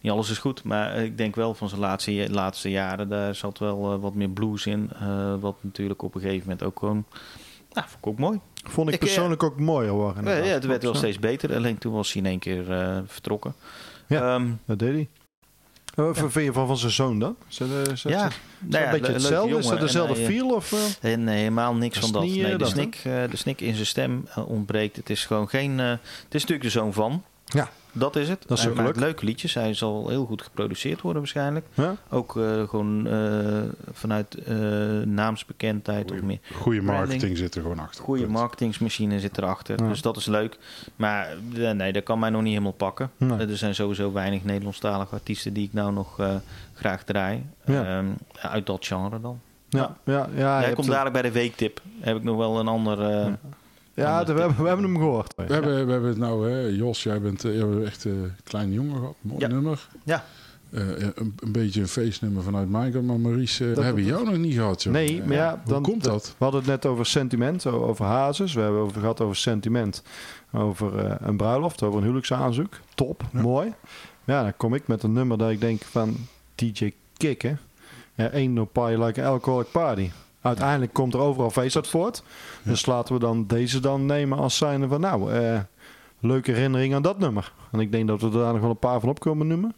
A: Niet alles is goed. Maar eh, ik denk wel van zijn laatste, laatste jaren. Daar zat wel eh, wat meer blues in. eh, wat natuurlijk op een gegeven moment ook gewoon... Nou, vond ik ook mooi.
B: Vond ik,
A: Ik, eh,
B: persoonlijk ook mooi hoor.
A: Ja,
B: inderdaad.
A: ja, het werd wel
B: Ja.
A: steeds beter. Alleen toen was hij in één keer eh, vertrokken.
B: Ja.
A: Ehm,
B: Dat deed hij. En Wat vind je Oh, van, van zijn zoon dan? Is dat, eh, is dat-
A: ja.
B: is dat
A: Nou ja, le-
B: een beetje
A: leuke
B: hetzelfde? is
A: jongen.
B: dat
A: En
B: dezelfde
A: hij, eh,
B: feel? Of, eh?
A: Eh, Nee, helemaal niks van
B: Dat is
A: dat.
B: niet, eh,
A: nee, de,
B: dat, hè?
A: snik, eh, de snik in zijn stem eh, ontbreekt. Het is gewoon geen. eh, het is natuurlijk de zoon van.
B: Ja.
A: Dat is het.
B: Dat is
A: hij
B: ook
A: maakt leuke liedjes. Hij zal heel goed geproduceerd worden waarschijnlijk.
B: Ja?
A: Ook eh, gewoon eh, vanuit eh, naamsbekendheid of meer.
C: Goede
A: branding.
C: marketing zit er gewoon achter.
A: Goede
C: Punt.
A: marketingsmachine zit erachter.
B: Ja.
A: Dus dat is leuk. Maar eh, nee, dat kan mij nog niet helemaal pakken.
B: Nee.
A: Eh, Er zijn sowieso weinig Nederlandstalige artiesten die ik nou nog eh, graag draai.
B: Ja.
A: Ehm, uit dat genre dan.
B: Ja, ja, ja, je
A: Hij
B: hebt
A: komt
B: hem.
A: dadelijk bij de weektip. Heb ik nog wel een ander. eh,
B: ja we, hebben, we hebben hem gehoord.
C: We hebben, we hebben het nou, hè, Jos, jij bent eh, jij bent echt eh, een kleine jongen gehad. Mooi
A: Ja.
C: nummer.
A: Ja.
C: Eh, een, een beetje een feestnummer vanuit mijn kant. Maar Maurice, eh,
B: dat-
C: we hebben jou nog niet gehad. Joh.
B: Nee,
C: Eh,
B: maar ja,
C: Hoe
B: dan-
C: komt dat?
B: We hadden het net over sentiment, o- over hazes. We hebben het gehad over sentiment, over eh, een bruiloft, over een huwelijksaanzoek. Top, mooi. Ja, dan kom ik met een nummer dat ik denk van DJ Kik, hè. Ja, ain't no party like an alcoholic party. Uiteindelijk komt er overal feest uit voort. Dus laten we dan deze dan nemen als zijnde van nou, eh, leuke herinnering aan dat nummer. En ik denk dat we daar nog wel een paar van op komen noemen.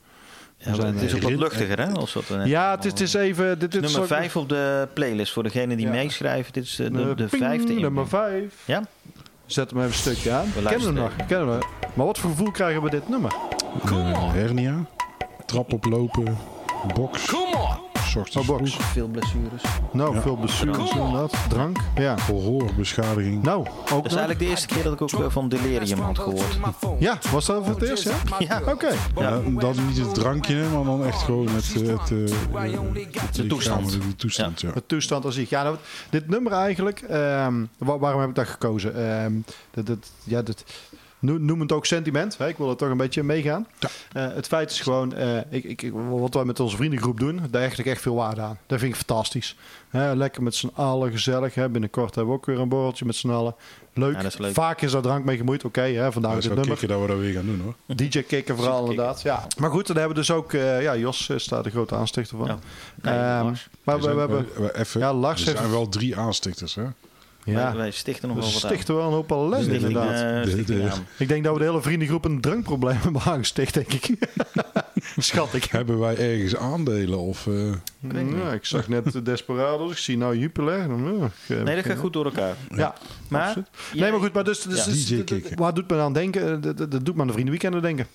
A: Ja,
B: zijn,
A: het is
B: eh,
A: ook wat
C: erin.
A: luchtiger, hè? Als wat we net
B: Ja, het is, het is even... Dit, dit is
A: nummer
B: ook-
A: 5 op de playlist. Voor degene die
B: Ja.
A: meeschrijven, dit is eh, de, de,
B: Nummer-
A: de
B: ping,
A: vijfde. inbreng.
B: Nummer 5.
A: Ja?
B: Zet hem even een stukje aan. Kennen we hem
A: luisteren
B: nog? Kennen we. Maar wat voor gevoel krijgen we dit nummer?
C: Eh, hernia, trap oplopen, box. Kom
B: Oh, box.
A: Veel blessures.
B: Nou, veel bestuurders inderdaad. Drank. Ja.
C: Verhoorbeschadiging.
B: Nou, ook
A: Dat
B: nog.
A: is eigenlijk de eerste keer dat ik ook eh, van delirium had gehoord.
B: Ja, was dat voor het eerst, ja?
A: Ja.
B: Oké.
C: Ja, dan niet het drankje, hè, maar dan echt gewoon het, eh, het, eh,
A: De toestand.
C: lichamelijke toestand, ja.
B: Het toestand als ik. Ja, nou, dit nummer eigenlijk. ehm, wa- waarom heb ik dat gekozen? Ehm, dat, dat, ja, dat, no- noem het ook sentiment. Hè? Ik wil er toch een beetje in meegaan. Eh, het feit is gewoon, eh, ik, ik, ik- wat wij met onze vriendengroep doen, daar hecht ik echt veel waarde aan. Dat vind ik fantastisch. Hè, lekker met z'n allen gezellig. Hè? Binnenkort hebben we ook weer een borreltje met z'n allen. Leuk.
A: Ja, dat is leuk.
B: Vaak is daar drank mee gemoeid. Oké, hè, vandaar
C: Dat is
B: dit
C: wel
B: nummer.
C: kicken dat we dat weer gaan doen, hoor.
B: DJ kicken vooral
A: Kikken.
B: inderdaad. Ja. Maar goed, dan hebben we dus ook, eh, ja, Jos is daar de grote aanstichter van.
A: Ja. Nee,
B: Ehm,
A: Lars.
B: maar we, we
C: zijn-
B: hebben...
C: we- even,
B: Ja, Lars
C: er zijn
B: heeft-
C: wel drie aanstichters, hè?
A: Wij,
B: Ja.
A: wij stichten nog
B: We
A: wel wat aan.
B: stichten wel een hoop ellende,
A: Stichting,
B: inderdaad.
A: eh,
C: De-
A: stichting
C: de-
A: aan.
B: Ik denk dat we de hele vriendengroep een drankprobleem hebben aangesticht, denk ik. Schat ik.
C: Hebben wij ergens aandelen of... eh,
B: Ja, ik zag net de Desperados, ik zie nou Jupiler. Ja, ik, eh,
A: Nee, dat gaat goed door elkaar.
B: ja.
A: Maar,
B: Nee, maar goed, maar dus, dus,
A: Ja.
B: dus-
C: DJ kicken.
B: waar doet men aan denken? Eh, Dat, dat- dat doet me aan de vriendenweekenden denken.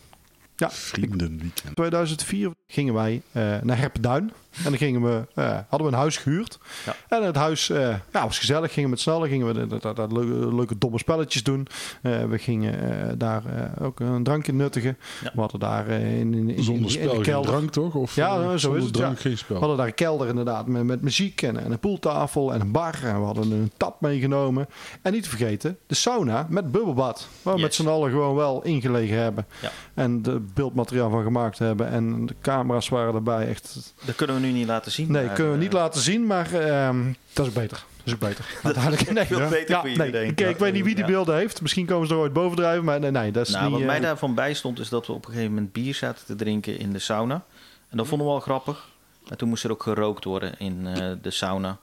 B: Ja.
C: Vriendenweekend.
B: 2004 gingen wij eh, naar Herpenduin. En dan gingen we, eh, hadden we een huis gehuurd.
A: Ja.
B: En het huis eh, ja, was gezellig. Gingen we met snallen, gingen we de- de- de- de leuke, leuke domme spelletjes doen. Eh, we gingen eh, daar eh, ook een drankje nuttigen.
A: Ja.
B: We hadden daar eh, in, in, in- in,
C: Zonder
B: in
C: spel
B: de
C: geen
B: kelder.
C: drank, toch? Of,
B: Ja, nou,
C: eh,
B: zo is
C: zonder
B: het,
C: drank
B: ja.
C: geen
B: We
C: spel.
B: hadden daar een kelder inderdaad met, met muziek en, en een poeltafel en een bar. En we hadden een tap meegenomen. En niet te vergeten, de sauna met bubbelbad. Waar we
A: Yes.
B: met z'n allen gewoon wel ingelegen hebben.
A: Ja.
B: En de beeldmateriaal van gemaakt hebben. En de camera's waren erbij. Echt,
A: Dat kunnen we nu niet laten zien.
B: nee,
A: maar,
B: kunnen we
A: eh,
B: niet laten zien, maar ehm, dat is ook beter. Dat is ook beter. Uiteindelijk, nee.
A: Veel beter voor
B: nee.
A: iedereen.
B: Ik, ik weet niet wie die
A: Ja.
B: beelden heeft. Misschien komen ze er ooit bovendrijven. Maar nee, nee dat is
A: nou,
B: niet...
A: wat mij
B: eh,
A: daarvan bijstond is dat we op een gegeven moment bier zaten te drinken in de sauna. En dat vonden we al grappig. En toen moest er ook gerookt worden in eh, de sauna.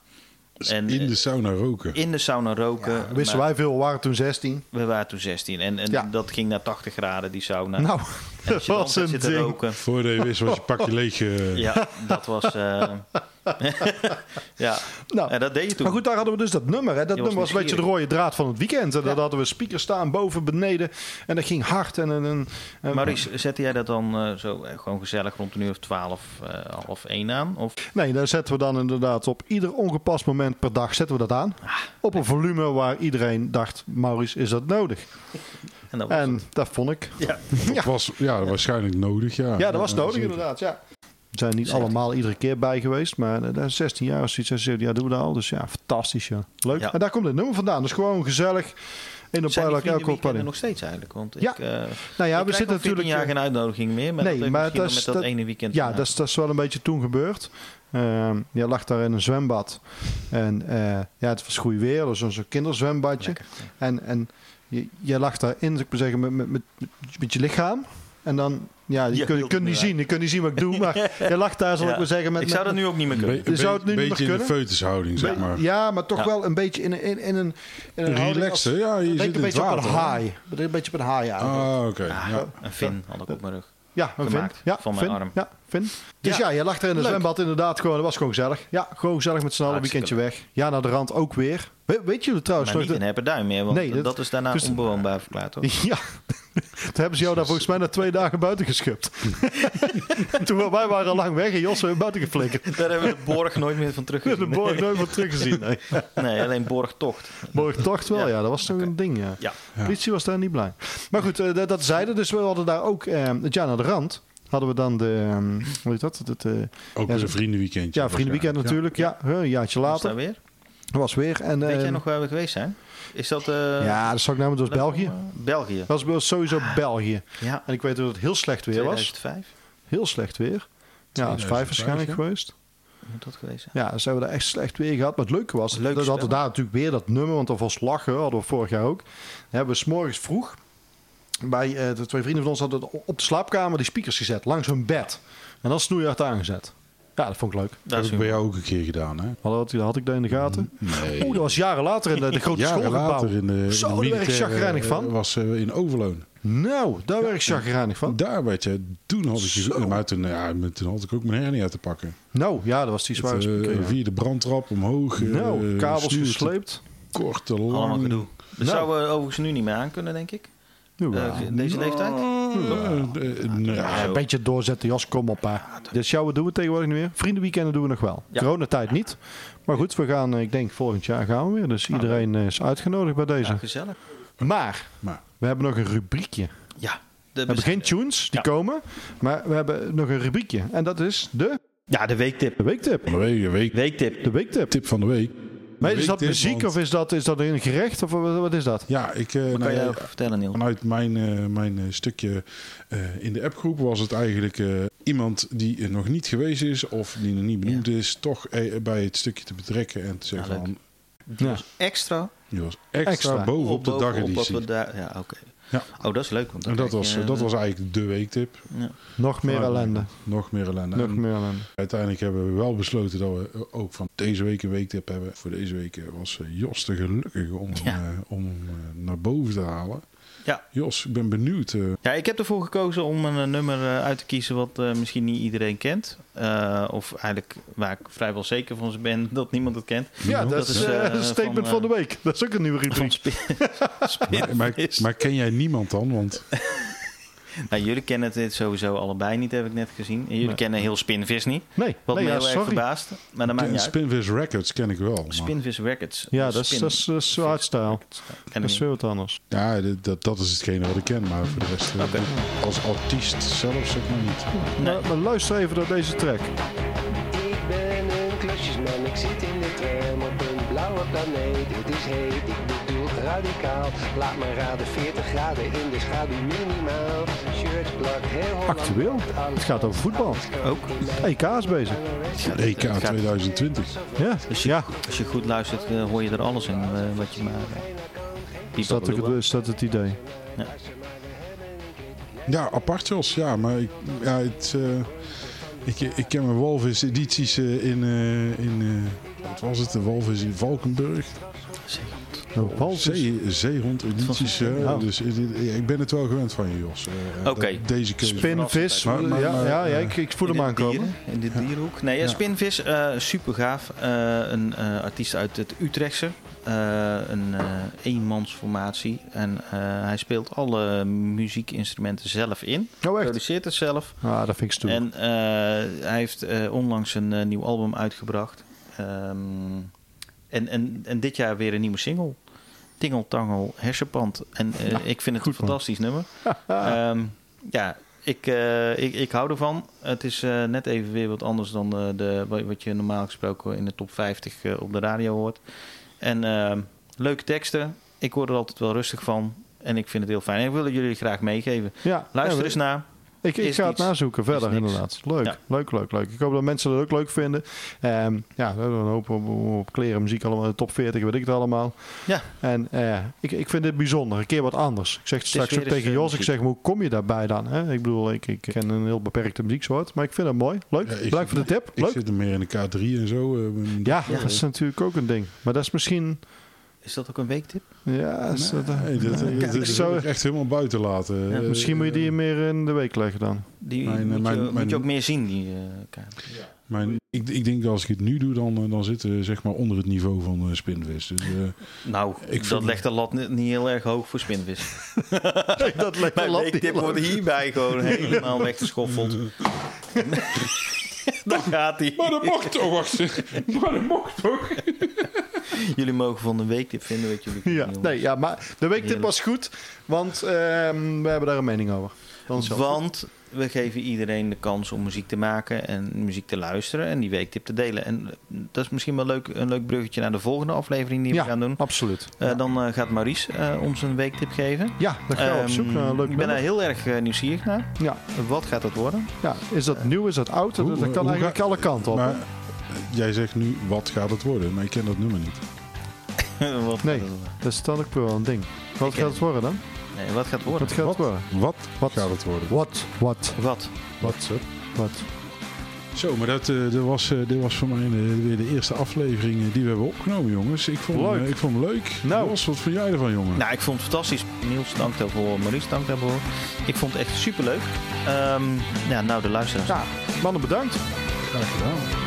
A: En,
C: Dus in de
A: eh,
C: sauna roken.
A: in de sauna roken.
B: ja, wisten
A: maar
B: wij veel. We waren toen 16.
A: We waren toen 16 en, en
B: Ja.
A: dat ging naar 80 graden, die sauna.
B: Nou,
A: en als
B: dat
A: je dan
B: was
A: gaat
B: een
A: zitten
B: ding.
A: roken.
C: Voordat je wist was je pakje leeg. eh,
A: Ja, dat was. eh, ja.
B: Nou,
A: en dat deed je toen.
B: Maar goed, daar hadden we dus dat nummer. Hè.
A: Die
B: Dat
A: was
B: nummer was een beetje de
A: nieuwsgierig.
B: rode draad van het weekend. En daar hadden we speakers staan boven, beneden. En dat ging hard. En, en, en, en-
A: Maurice, zette jij dat dan eh, zo eh, gewoon gezellig rond een uur of 12, eh, half 1 aan? Of
B: Nee, daar zetten we dan inderdaad op ieder ongepast moment per dag zetten we dat aan.
A: Ah,
B: Op een volume waar iedereen dacht, Maurice, is dat nodig?
A: En Oh, dat was
B: En dat vond ik.
A: Ja.
C: Dat was ja, waarschijnlijk nodig. Ja,
B: Ja, dat was nodig
C: zeker.
B: inderdaad, ja. We zijn niet
A: Zeker.
B: allemaal iedere keer bij geweest, maar eh, daar 16 jaar of zoiets. En 17 jaar doen we dat al. Dus ja, fantastisch. Ja. Leuk.
A: Ja.
B: En daar komt het nummer vandaan. Dus gewoon gezellig in een
A: Zijn
B: paar
A: die
B: elke
A: vriendenweekenden
B: party.
A: nog steeds eigenlijk? Want
B: Ja.
A: ik, eh,
B: Nou ja,
A: ik
B: we
A: krijg
B: zitten
A: al 14
B: natuurlijk.
A: jaar geen uitnodiging meer, maar
B: Nee,
A: dat heeft
B: maar
A: misschien
B: dat
A: wel
B: is-
A: met dat,
B: dat-
A: ene weekend. eh,
B: Ja,
A: te
B: dat is, dat is wel een beetje toen gebeurd. Ehm je lag daar in een zwembad. En eh, ja, het was goed weer, dus zo'n zo'n kinderzwembadje.
A: maken. Lekker.
B: En, en je, je lag daarin, zou ik maar zeggen, met, met, met, met je lichaam. En dan, ja, je,
A: Je
B: kunt, je
A: hield
B: kunt
A: het
B: niet
A: niet
B: zien, je kunt niet zien wat ik doe. Maar je lag daar, zal
A: Ja.
B: ik maar zeggen, met,
A: ik zou
B: met-
A: dat nu ook niet meer
C: Be-
A: kunnen.
C: een
B: zou het nu
C: beetje
B: niet meer
C: in de
B: kunnen?
C: feutushouding, zeg maar.
B: Ja, maar toch
A: Ja.
B: wel een beetje in, een- in, in een... In een houding als-
C: Relaxen, ja. Je
B: een
C: zit in
B: beetje, een beetje
C: het
B: op een
C: water.
B: haai. Een beetje op een haai eigenlijk.
C: Ah, oké.
A: Ah,
C: ja.
A: Een vin had ik op mijn rug.
B: Ja, een vin.
A: Gemaakt
B: Ja,
A: van mijn
B: vin.
A: arm.
B: Ja, vin. Dus ja,
A: Ja.
B: je lag er in het
A: Leuk.
B: zwembad inderdaad gewoon. Dat was gewoon gezellig. Ja, gewoon gezellig met z'n allen
A: Hartstikke
B: weekendje weg. Ja, naar de rand ook weer. We- weet jullie trouwens
A: Maar
B: nog...
A: niet in
B: de-
A: Hepperduin meer, want
B: Nee, dat-
A: dat, is daarna
B: dus-
A: onbewoonbaar verklaard. Hoor.
B: Ja, toen hebben ze jou daar volgens mij na twee dagen buiten geschupt. toen wij waren al lang weg en Jos weer buiten geflikkerd.
A: Daar hebben we de borg nooit meer van
B: We hebben
A: teruggezien.
B: de borg nooit meer teruggezien. Nee.
A: Nee, alleen borgtocht.
B: Borgtocht wel, ja.
A: Ja.
B: Dat was toch een ding, ja.
A: Ja.
B: Politie was daar niet blij. Maar goed, eh, dat, dat zeiden. Dus we hadden daar ook... eh, het jaar naar de rand hadden we dan de... eh, hoe heet dat? Het, eh,
C: Ook
B: Ja,
C: weer
B: zo-
C: een vriendenweekendje.
B: ja, vriendenweekend
C: waarschijnlijk.
B: natuurlijk. Ja, een jaartje
A: Was
B: later.
A: daar weer?
B: Dat was weer. En,
A: Weet jij
B: eh,
A: nog waar we geweest zijn? Is dat... eh, Ah.
B: ja, dat zag ik namelijk, dat was België.
A: België.
B: Dat was sowieso België.
A: Ja,
B: En ik weet dat het heel slecht weer was.
A: 2005
B: Heel slecht weer. Ja, dat is vijf
C: 2005,
B: waarschijnlijk
C: ja.
B: geweest.
A: moet dat geweest zijn.
B: Ja, dus hebben we daar echt slecht weer gehad. Maar het leuke was,
A: Leuk
B: dat we hadden
A: spel.
B: daar natuurlijk weer dat nummer, want dat was lachen, hadden we vorig jaar ook. Dan hebben we s'morgens vroeg, bij eh, de twee vrienden van ons hadden op de slaapkamer die speakers gezet, langs hun bed. En dan snoeihard aangezet. Ja, dat vond ik leuk.
C: Dat
A: Dat
C: heb
A: is
C: ik bij jou ook een keer gedaan, hè?
B: Hadden we dat- Had ik dat in de gaten?
C: Nee.
B: Oeh, dat was jaren later in de, de grote
C: Jaren
B: schoolgebouw.
C: later in de,
B: Zo,
C: in
B: daar
C: de
B: werd ik
C: militaire,
B: chagrijnig van.
C: eh, was eh, in Overloon.
B: Nou, daar werd ik chagrijnig van.
C: Daar werd je, toen had ik je, maar toen, ja, maar toen had ik ook mijn hernia te pakken.
B: Nou, ja, dat was die zware
C: Het, eh,
B: speaker. ja.
C: via de brandtrap omhoog. eh,
B: Nou, kabels
C: snoer te
B: gesleept.
C: Kort, te lang.
A: allemaal gedoe. Dat
B: Nou.
A: zouden we overigens nu niet meer aan kunnen, denk ik. Eh,
B: Ja.
A: deze leeftijd.
C: Eh, eh, nou,
B: Ja, een beetje doorzetten, Jos, kom op. Hè. Dus jouw doen we tegenwoordig niet meer. Vriendenweekenden doen we nog wel.
A: Ja.
B: Coronatijd niet. Maar goed, we gaan, eh, ik denk volgend jaar gaan we weer. Dus iedereen eh, is uitgenodigd bij
A: Ah, Ja,
B: deze.
A: gezellig.
B: Maar,
C: Maar.
B: we hebben nog een rubriekje.
A: Ja.
B: We hebben geen tunes, die
A: Ja.
B: komen. Maar we hebben nog een rubriekje. En dat is de
A: Ja, de weektip.
B: weektip.
C: Van de week, de week,
A: Weektip.
B: De weektip.
C: tip van de week.
B: Maar is dat
C: Weektip,
B: muziek
C: want-
B: of is dat, is dat een gerecht? Of wat wat is dat?
C: Ja, ik, eh, nou
A: Kan
C: ja,
A: jij even vertellen, Niel?
C: vanuit mijn, eh, mijn eh, stukje eh, in de appgroep was het eigenlijk eh, iemand die er nog niet geweest is of die nog niet benoemd is, toch eh, bij het stukje te betrekken en te zeggen
A: Ja, leuk.
C: van,
B: Ja.
A: Extra.
C: die was extra,
B: Extra.
C: boven op de
A: bovenop wat
C: dageditie.
A: we daar- Ja, oké.
C: Ja.
A: Oh, dat is leuk. Want dan
C: En dat
A: kijk eh,
C: was, eh,
A: je-
C: dat was eigenlijk de weektip.
A: Ja.
B: Nog meer
C: Maar-
B: ellende.
C: Nog meer ellende.
B: Nog
C: En
B: meer ellende.
C: Uiteindelijk hebben we wel besloten dat we eh, ook van deze week een weektip hebben. Voor deze week eh, was eh, Jos de gelukkige om, hem,
A: Ja.
C: eh, om hem, eh, naar boven te halen.
A: Ja.
C: Jos, ik ben benieuwd. eh,
A: Ja, ik heb ervoor gekozen om een eh, nummer eh, uit te kiezen wat eh, misschien niet iedereen kent. Eh, of eigenlijk waar ik vrijwel zeker van ben dat niemand het kent.
B: Ja, dat, is eh,
A: eh,
B: een statement van,
A: van, eh,
B: de week. Dat is ook een nieuwe rubriek.
A: Van Spin.
C: maar, maar,
A: Spinvis.
C: maar ken jij niemand dan? Want
A: Nou, jullie kennen het dit sowieso allebei niet, heb ik net gezien. En jullie
B: Nee.
A: kennen heel Spinvis niet.
B: Nee,
A: Wat
B: nee
A: me
B: ja,
A: heel erg
B: sorry.
A: verbaast. Maar dat maakt
C: Ken-
A: niet uit.
C: Spinvis Records ken ik wel. maar-
A: Spinvis Records.
B: Ja,
A: Of
B: dat is,
A: Spin-
B: dat is, dat is hardstyle.
A: Ken
B: Dat
A: ik
B: is
A: niet.
B: weer wat anders.
C: Ja, dit- dat, dat is hetgene wat ik ken, maar voor de rest... eh, Als artiest zelf zeg maar niet.
A: Nee.
B: Maar, maar luister even naar deze track.
E: Ik ben een klusjesman, ik zit in de tram op een blauwe planeet. Het is heet, ik bedoel radicaal. Laat me raden, 40 graden in de schaduw minimaal. Shirt plak, heel Holland.
B: Actueel. Het gaat over voetbal.
A: Ook.
B: EK is bezig.
C: EK
A: Het gaat-
C: 2020.
B: Ja,
A: Als Dus je,
B: ja.
A: als je goed luistert, eh, hoor je er alles in eh, wat je maar... eh,
B: Is dat,
A: pieperbloemen.
B: de, is dat het idee?
C: Ja, apart Jos. Ja, maar ik, ja, het, eh, ik, ik ken mijn walvis-edities eh, in, eh, in eh, wat was het, de walvis in Valkenburg. Oh,
B: Nou, Wals is-
C: Zee, zeehond-edities. eh,
B: Ja.
C: Dus eh, dit- eh, ik ben het wel gewend van je, Jos. Eh, eh,
A: Oké.
C: dat- Deze keuze.
B: Spinvis.
C: Maar- maar-
B: ja,
C: maar-
B: ja, ja, ik, ik voel hem
A: In dit
B: aankomen.
A: dieren- In dit dierhoek. Nee, ja,
C: Ja.
A: Spinvis, eh super gaaf. een eh, artiest uit het Utrechtse. Eh, een eh eenmansformatie. En eh, hij speelt alle muziekinstrumenten zelf in.
B: Oh, echt?
A: Produceert het zelf.
B: Ah, dat vind ik stoer.
A: dus- En eh, hij heeft eh, onlangs een eh, nieuw album uitgebracht. Ehm, en, en, en dit jaar weer een nieuwe single. Tingle Tangel Hersenpand. En eh, ik vind het een
B: Nou, goed, man.
A: fantastisch nummer. Ehm, ja, ik, eh, ik, ik hou ervan. Het is eh, net even weer wat anders dan eh, de, wa- wat je normaal gesproken in de top 50 eh, op de radio hoort. En ehm, leuke teksten. Ik word er altijd wel rustig van. En ik vind het heel fijn. En ik wil het jullie graag meegeven.
B: ja,
A: Luister
B: ja,
A: eens naar.
B: Ik, ik
A: Is
B: ga het
A: niets.
B: nazoeken verder,
A: niks.
B: inderdaad. Leuk,
A: Ja.
B: leuk, leuk, leuk. Ik hoop dat mensen dat ook leuk vinden. Ehm, ja, we hebben een hoop op, op kleren, muziek, allemaal de top 40, weet ik het allemaal.
A: Ja.
B: En eh, ik, ik vind dit bijzonder, een keer wat anders. Ik zeg het straks
A: weer
B: ook
A: eens,
B: tegen
A: eh,
B: Jos, ik
A: muziek.
B: zeg, maar hoe kom je daarbij dan? Hè? Ik bedoel, ik, ik ken een heel beperkte muzieksoort, maar ik vind het mooi. Leuk,
C: Ja, ik
B: bedankt voor
C: zit-
B: de tip.
C: Ik
B: Leuk.
C: zit er meer in de K3 en zo. eh, mijn-
B: ja, dat is natuurlijk ook een ding. Maar dat is misschien...
A: Is dat ook een weektip?
B: Ja, is dat, eh,
C: Nee, dat, dat, dat,
B: zo-
C: wil ik echt helemaal buiten laten.
A: Ja,
C: Eh,
B: misschien moet je die meer in de week leggen dan.
A: Die
C: Mijn, eh,
A: moet, je,
C: mijn-
A: moet je
C: mijn-
A: ook meer zien, die eh, kaart.
C: Maar ik, ik denk dat als ik het nu doe, dan, eh, dan zitten we zeg maar onder het niveau van eh Spinvis. Dus, eh,
A: Nou,
C: Ik
A: dat
C: vond-
A: legt de lat ni- niet heel erg hoog voor spinvis.
B: dat lijkt
A: Mijn weekdip wordt hierbij gewoon helemaal weggeschoffeld. Daar gaat hij.
C: Maar dat mocht toch, wacht. Maar dat mocht toch.
A: Jullie mogen van de weektip vinden wat jullie
B: Ja,
A: jongens.
B: nee, ja, maar de weektip
A: Heerlijk.
B: was goed, want ehm, we hebben daar een mening over. Dan is het wel goed.
A: Want we geven iedereen de kans om muziek te maken en muziek te luisteren en die weektip te delen. En dat is misschien wel leuk, een leuk bruggetje naar de volgende aflevering die we
B: Ja.
A: gaan doen.
B: absoluut.
A: Eh, Dan eh, gaat Maurice eh, ons een weektip geven.
B: Ja, dan gaan we op
A: Ehm,
B: zoek naar een leuk
A: ik ben
B: nummer.
A: daar heel erg eh, nieuwsgierig naar.
B: Ja,
A: Wat gaat dat worden?
B: ja, is dat nieuw, is dat oud? Dat-
C: Hoe-
B: dat kan
C: hoe
B: eigenlijk
C: ga-
B: alle kanten op.
C: Maar eh, jij zegt nu, wat gaat het worden? Maar ik ken dat nummer niet.
A: Wat
B: Nee.
A: gaat het worden?
B: dat is dan ook wel een ding. Wat
A: Ik-
B: gaat het worden dan?
A: Nee, wat gaat het worden?
B: Wat gaat het worden?
C: Wat,
B: Wat?
C: gaat het worden?
B: Wat, wat,
A: Wat?
C: Wat?
B: wat.
C: Zo, maar dat, eh, dat was, eh, dit was voor mij eh, weer de eerste aflevering eh, die we hebben opgenomen, jongens. Ik vond,
B: Leuk.
C: hem, eh, ik vond hem leuk.
B: Nou.
C: Jos, wat vond jij ervan, jongen?
A: Nou, ik vond het fantastisch. Niels, dank daarvoor. Maurice, dank daarvoor. Ik vond het echt superleuk. Ehm ja, nou, de luisteraars.
B: Ja, mannen bedankt.
C: Graag gedaan.